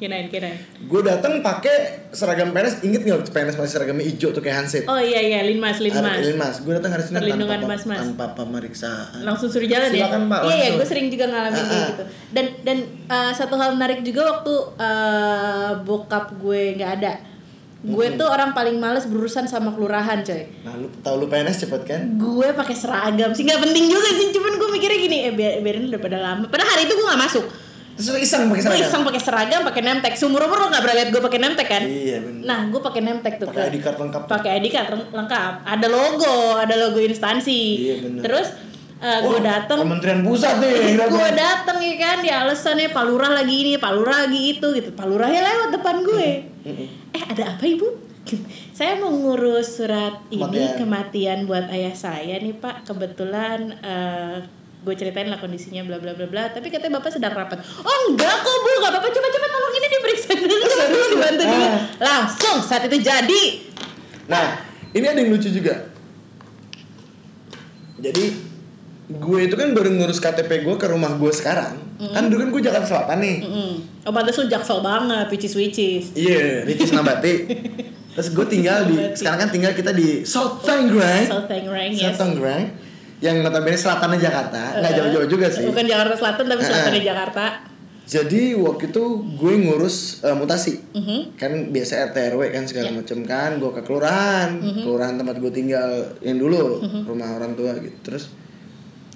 S1: Kirain, kirain.
S2: gue datang pakai seragam PNS inget nggak waktu PNS masih seragamnya hijau tuh kayak Hansip
S1: Oh iya iya, Linmas, Linmas.
S2: gue datang hari Senin tanpa,
S1: Perlindungan mas-mas.
S2: tanpa pemeriksaan
S1: langsung suruh jalan ya.
S2: Silakan, Pak,
S1: Iya, iya,
S2: langsung.
S1: gue sering juga ngalamin kayak
S2: Ah, ah.
S1: gitu. Dan dan eh, satu hal menarik juga waktu eh, bokap gue nggak ada. Gue
S2: Hmm.
S1: tuh orang paling males berurusan sama kelurahan, coy.
S2: nah lu tau lu PNS cepet kan
S1: Gue pakai seragam sih nggak penting juga sih, cuman gue mikirnya gini, eh biar, biarin udah pada lama. Padahal hari itu gue nggak masuk.
S2: terus lu iseng
S1: Gue
S2: pakai seragam
S1: iseng pakai seragam, pakai nemtek. Seumur umur lo nggak pernah liat gue pakai nemtek kan?
S2: iya bener
S1: Nah, gue pakai nemtek tuh.
S2: pakai
S1: Kak.
S2: ID card lengkap tuh.
S1: pakai ID card leng- lengkap ada logo ada logo instansi
S2: Iya, bener.
S1: terus eh, gue
S2: Wah,
S1: dateng
S2: Kementerian Pusat nih yang
S1: gue
S2: datang.
S1: dateng ya kan ya alasannya Pak Lurah lagi ini Pak Lurah lagi itu gitu Pak Lurahnya lewat depan gue
S2: Iya.
S1: eh ada apa ibu [LAUGHS] Gitu. saya mau ngurus surat ini
S2: Kematian.
S1: kematian buat ayah saya nih Pak kebetulan eh, gue ceritain lah kondisinya bla bla bla bla tapi katanya bapak sedang rapat oh enggak kok bu nggak apa-apa coba coba tolongin
S2: ya? Ah.
S1: langsung saat itu jadi
S2: Nah, ini ada yang lucu juga. Jadi gue itu kan baru ngurus KTP gue ke rumah gue sekarang. Kan dulu kan gue Jakarta Selatan nih.
S1: Mm-mm. oh pantes lu jaksel banget which is which is
S2: Iya, Ricis
S1: [LAUGHS]
S2: Nabati. Terus gue tinggal di
S1: Nabati.
S2: sekarang kan tinggal kita di South Tangerang.
S1: so thank rank
S2: South
S1: yes
S2: Eh?
S1: Eh,
S2: Tangerang yang notabene selatannya Jakarta, nggak jauh-jauh juga sih.
S1: bukan Jakarta Selatan tapi selatan di
S2: Eh.
S1: Jakarta
S2: Jadi waktu itu gue ngurus eh, mutasi.
S1: Mhm.
S2: kan biasa RT RW kan segala
S1: Ya.
S2: macam kan gue ke kelurahan
S1: Mhm.
S2: kelurahan tempat gue tinggal yang dulu rumah orang tua gitu terus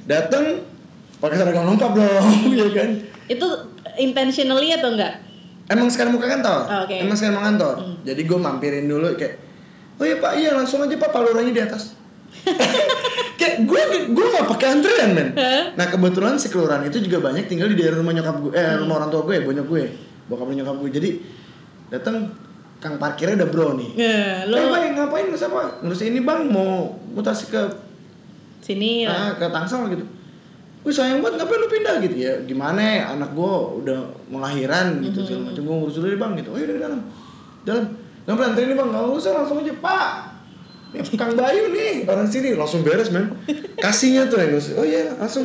S2: datang pakai seragam lengkap dong [LAUGHS] ya kan
S1: itu intentionally atau enggak
S2: emang sekarang mau ke kantor
S1: Oh, oke. Mhm.
S2: emang sekarang mau kantor jadi gue mampirin dulu kayak oh iya pak iya langsung aja pak paluranya di
S1: [LAUGHS]
S2: atas kayak gue gue nggak pakai antrean men nah kebetulan si kelurahan itu juga banyak tinggal di daerah rumah nyokap gue
S1: Mhm.
S2: eh rumah orang tua gue bonyok gue bokap dan nyokap gue jadi datang kang parkirnya udah bro nih
S1: Nggak,
S2: Eh
S1: lo
S2: bang ngapain ngurus apa? Ngurus ini bang mau mutasi ke
S1: sini lah.
S2: ah, ke Tangsel gitu. Wih sayang banget ngapain lu pindah gitu ya? Gimana ya, anak gua udah mau lahiran gitu
S1: Mm-hmm.
S2: segala macam gua ngurus dulu deh bang gitu. Oh iya udah ke dalam. Dalam. Nggak pelan ini bang nggak usah langsung aja pak. Ini Kang Bayu nih orang sini langsung beres men. Kasihnya tuh yang ngurus. Oh iya langsung.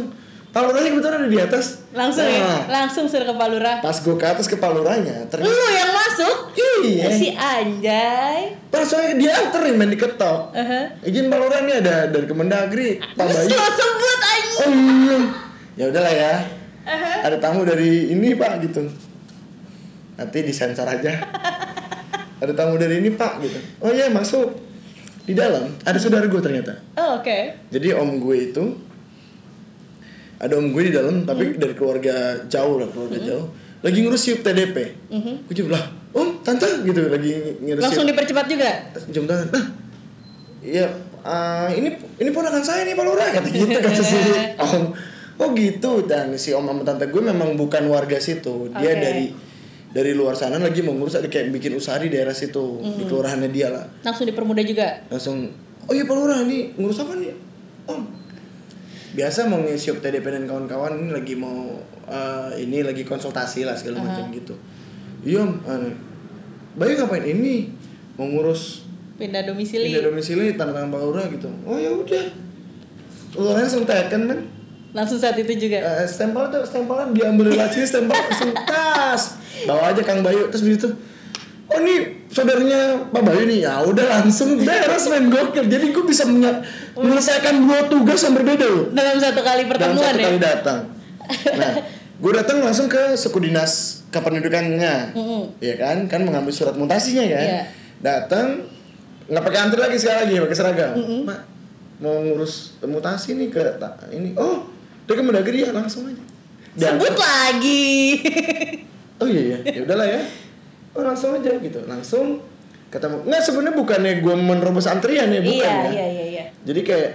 S2: Paluranya kebetulan ada di atas.
S1: langsung
S2: Nah,
S1: ya langsung suruh ke Palura
S2: Pas gua ke atas ke paluranya ternyata
S1: lu yang masuk
S2: Iya.
S1: si anjay Uh-huh.
S2: Pas soalnya dia anterin main diketok.
S1: Aha.
S2: Izin palurnya nih ada dari Kemendagri. Pak
S1: Terus
S2: Bayu.
S1: lo sebut anjing.
S2: Oh iya. Ya udahlah ya.
S1: Aha.
S2: Ada tamu dari ini pak gitu. Nanti disensor aja. Ada tamu dari ini pak gitu. Oh iya masuk. Di dalam ada saudara gue ternyata.
S1: Oh, Oke.
S2: Jadi om gue itu ada om gue di dalam
S1: Hmm.
S2: tapi dari keluarga jauh lah keluarga jauh lagi ngurus siup TDP. Gue juga lah om tante gitu lagi ng- ngurus
S1: Hmm. Langsung
S2: siup.
S1: dipercepat juga.
S2: jam tangan. "Ah, Iya, ah, ini ini ponakan saya nih Pak Lurah kata gitu kata si Om. Oh gitu dan si Om sama tante gue memang bukan warga situ. Dia
S1: Oke.
S2: dari dari luar sana lagi mau ngurus ada kayak bikin usaha di daerah situ, di kelurahannya dia lah.
S1: Langsung dipermudah juga.
S2: Langsung oh iya Pak Lurah nih ngurus apa nih? Om. Biasa mau ngisi TDP dan kawan-kawan ini lagi mau eh, ini lagi konsultasi lah segala macam gitu. Iya Om, aneh. Bayu ngapain ini? Mau ngurus
S1: Pindah domisili.
S2: pindah domisili tanda tangan Pak Lurah gitu oh ya udah Lurahnya langsung tekan kan
S1: Langsung saat itu juga.
S2: Eh, stempel tuh stempelnya diambil dari sini stempel langsung [LAUGHS] tas bawa aja Kang Bayu terus begitu oh nih saudaranya Pak Bayu nih ya udah langsung beres main gokil jadi gue bisa menya- menyelesaikan dua tugas yang berbeda loh
S1: Dalam satu kali
S2: dalam
S1: pertemuan
S2: satu
S1: ya.
S2: kali datang
S1: [LAUGHS]
S2: nah gue datang langsung ke suku dinas kependudukannya
S1: Mm-mm.
S2: Iya kan? Kan mengambil surat mutasinya kan.
S1: Iya.
S2: Datang nggak pakai antri lagi sekali lagi pakai seragam. Pak, mau ngurus mutasi nih ke ta- ini. Oh, dia ke Mendagri ya langsung aja.
S1: Sebut
S2: Diantar.
S1: lagi.
S2: Oh iya iya, ya udahlah ya. Oh langsung aja gitu, langsung ketemu. Nggak sebenarnya bukannya gue menerobos antrian ya, bukan
S1: iya,
S2: ya.
S1: iya, iya, iya.
S2: Jadi kayak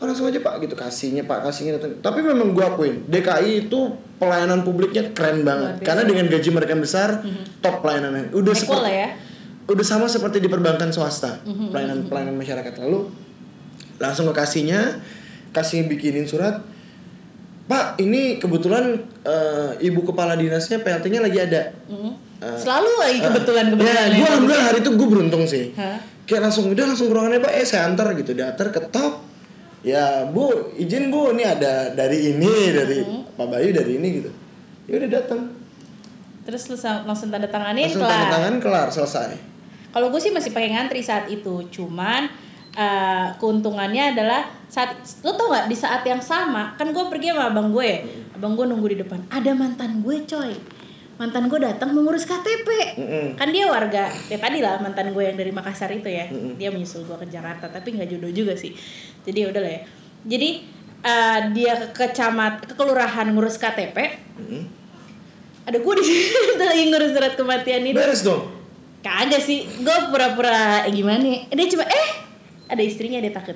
S2: oh, langsung aja pak gitu kasihnya pak kasihnya datang. Tapi memang gue akuin DKI itu pelayanan publiknya keren
S1: Luar
S2: banget.
S1: biasa. Mhm.
S2: Karena dengan gaji mereka yang besar, top pelayanannya.
S1: Equal
S2: Udah seperti-
S1: lah ya. Mhm,
S2: udah sama seperti di perbankan swasta pelayanan pelayanan masyarakat lalu langsung ke kasihnya kasih bikinin surat pak ini kebetulan eh, ibu kepala dinasnya PLT-nya lagi ada
S1: Mm.
S2: Eh,
S1: Selalu lagi kebetulan
S2: Eh,
S1: kebetulan.
S2: ya gue alhamdulillah hari itu gue beruntung sih
S1: Hah?
S2: kayak langsung udah langsung ke ruangannya pak eh saya antar gitu datar ketok ya bu izin bu ini ada dari ini dari pak Bayu dari ini gitu ya udah datang
S1: Terus lu sa- langsung tanda tanganin
S2: langsung
S1: kelar.
S2: tangan tangan kelar selesai
S1: Kalau gue sih masih pakai ngantri saat itu, cuman eh, keuntungannya adalah saat lu tau nggak di saat yang sama kan gue pergi sama abang gue, ya. abang gue nunggu di depan, ada mantan gue coy, mantan gue datang mengurus KTP,
S2: Mm-mm.
S1: kan dia warga ya tadi lah mantan gue yang dari Makassar itu ya, dia menyusul gue ke Jakarta tapi nggak jodoh juga sih, jadi udah lah ya, jadi eh, dia ke kecamat ke kelurahan ngurus KTP, ada gue di sini [LAUGHS] lagi ngurus surat kematian itu.
S2: beres dong
S1: Kagak sih, gue pura-pura eh, gimana? ya? Dia cuma eh ada istrinya dia takut.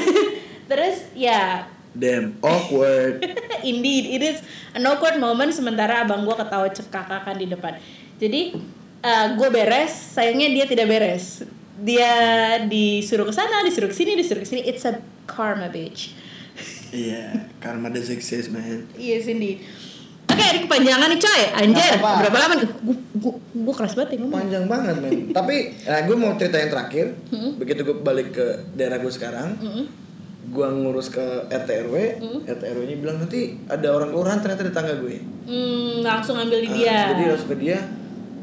S1: [LAUGHS] Terus ya [LAUGHS]
S2: Damn awkward.
S1: indeed it is an awkward moment sementara abang gue ketawa cekakakan di depan. Jadi gue beres, sayangnya dia tidak beres. Dia disuruh ke sana, disuruh ke sini, disuruh ke sini. It's a karma bitch.
S2: Iya, karma does exist, man.
S1: Yes indeed. Oke, ini kepanjangan nih coy. Anjir,
S2: Nggak apa-apa.
S1: berapa lama nih? Gue gue gue keras banget ya ngomong.
S2: Panjang banget men. Tapi nah, gue mau cerita yang terakhir. Begitu gue balik ke daerah gue sekarang, gue ngurus ke RT RW. RT RW-nya bilang nanti ada orang kelurahan ternyata di tangga gue.
S1: Hmm, langsung ambil di
S2: Ah,
S1: dia.
S2: jadi langsung ke dia.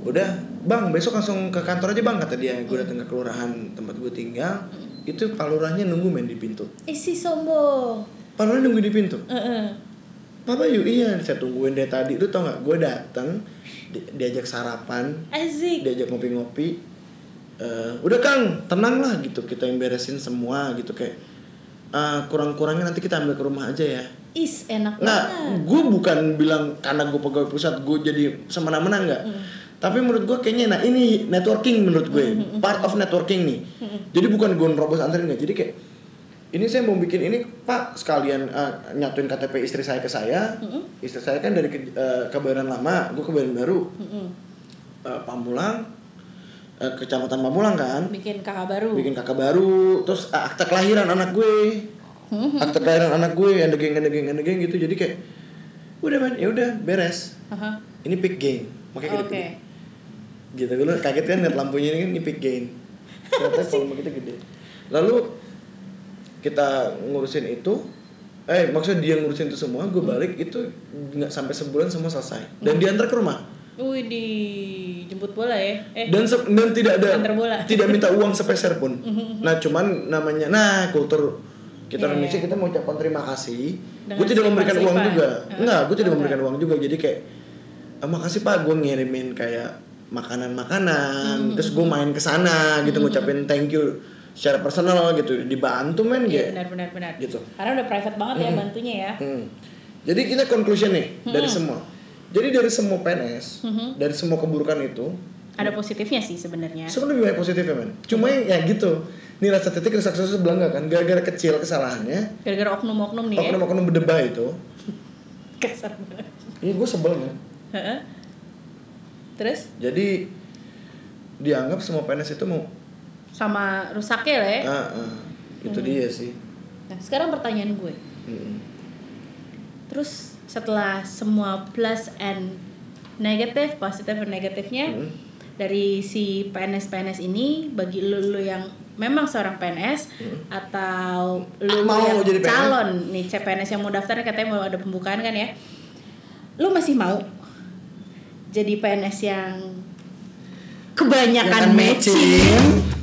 S2: Udah, bang besok langsung ke kantor aja bang kata dia. Gue datang ke kelurahan tempat gue tinggal. Itu Pak Lurahnya nunggu main di pintu.
S1: Eh si sombong.
S2: Pak Lurah nunggu di pintu.
S1: Heeh.
S2: Papa yuk iya saya tungguin dari tadi. Lu tau gak? Gue datang di- diajak sarapan,
S1: Asik.
S2: diajak ngopi-ngopi Eh, udah kang tenang lah gitu kita yang beresin semua gitu kayak "Ah, kurang-kurangnya nanti kita ambil ke rumah aja ya
S1: Is enak
S2: nah
S1: banget.
S2: gue bukan bilang karena gue pegawai pusat gue jadi semena-mena nggak tapi menurut gue kayaknya nah ini networking menurut gue part of networking nih jadi bukan gue nerobos antren nggak jadi kayak ini saya mau bikin ini pak sekalian eh, nyatuin KTP istri saya ke saya istri saya kan dari ke, eh, kebayoran lama gue kebayoran baru
S1: Mm-mm.
S2: eh, Pamulang eh, kecamatan Pamulang kan
S1: Bikin kakak baru.
S2: bikin kakak baru terus eh, akte kelahiran anak gue akte kelahiran anak gue yang degeng endegeng endegeng gitu jadi kayak udah man ya udah beres
S1: Aha.
S2: ini pick gain makanya gede
S1: Oke.
S2: gitu gue kaget kan ngeliat lampunya ini kan ini pick gain ternyata volume kita gede lalu kita ngurusin itu eh maksudnya dia ngurusin itu semua gue balik itu nggak sampai sebulan semua selesai dan diantar ke rumah
S1: Wih di jemput bola ya. Eh.
S2: dan se- dan tidak ada
S1: Antar bola.
S2: [LAUGHS]
S1: Mhm.
S2: tidak minta uang sepeser
S1: [LAUGHS]
S2: pun nah cuman namanya nah kultur kita
S1: Iya,
S2: Indonesia
S1: iya.
S2: kita mengucapkan terima kasih
S1: Dengan
S2: gue tidak memberikan uang
S1: selipan-selipan.
S2: juga
S1: Heeh.
S2: enggak gue tidak
S1: Oh,
S2: memberikan uang juga jadi kayak "Ah, makasih pak gue ngirimin kayak
S1: Mhm.
S2: makanan-makanan terus gue main ke sana gitu ngucapin thank you secara personal gitu dibantu
S1: Iya
S2: men gitu
S1: benar benar benar.
S2: Gitu.
S1: Karena udah private banget ya bantunya ya.
S2: Hmm. Jadi kita conclusion nih dari
S1: Mhm.
S2: semua jadi dari semua PNS dari semua keburukan itu
S1: Mm-hmm. Ada positifnya sih sebenarnya.
S2: Sebenarnya lebih banyak positifnya men. Cuma yang ya gitu. Nih rasa titik rasa susu sebelah nggak kan? Gara-gara kecil kesalahannya.
S1: Gara-gara oknum-oknum nih ya.
S2: Oknum-oknum berdebah itu.
S1: Kasar banget.
S2: Ini gue sebel men.
S1: Heeh. Terus
S2: Jadi dianggap semua PNS itu mau.
S1: sama rusaknya lah ya.
S2: Ah, ah. Itu dia sih. Hmm.
S1: Nah, sekarang pertanyaan gue.
S2: Mm-mm.
S1: Terus setelah semua plus and negatif, positif dan negatifnya
S2: Mm.
S1: dari si PNS-PNS ini bagi lu, lu yang memang seorang PNS atau lu
S2: Ah, Hmm. mau
S1: yang
S2: jadi PNS?
S1: calon nih CPNS yang mau daftar katanya mau ada pembukaan kan ya. Lu masih mau jadi PNS yang kebanyakan
S2: Yang kan
S1: matching,
S2: matching.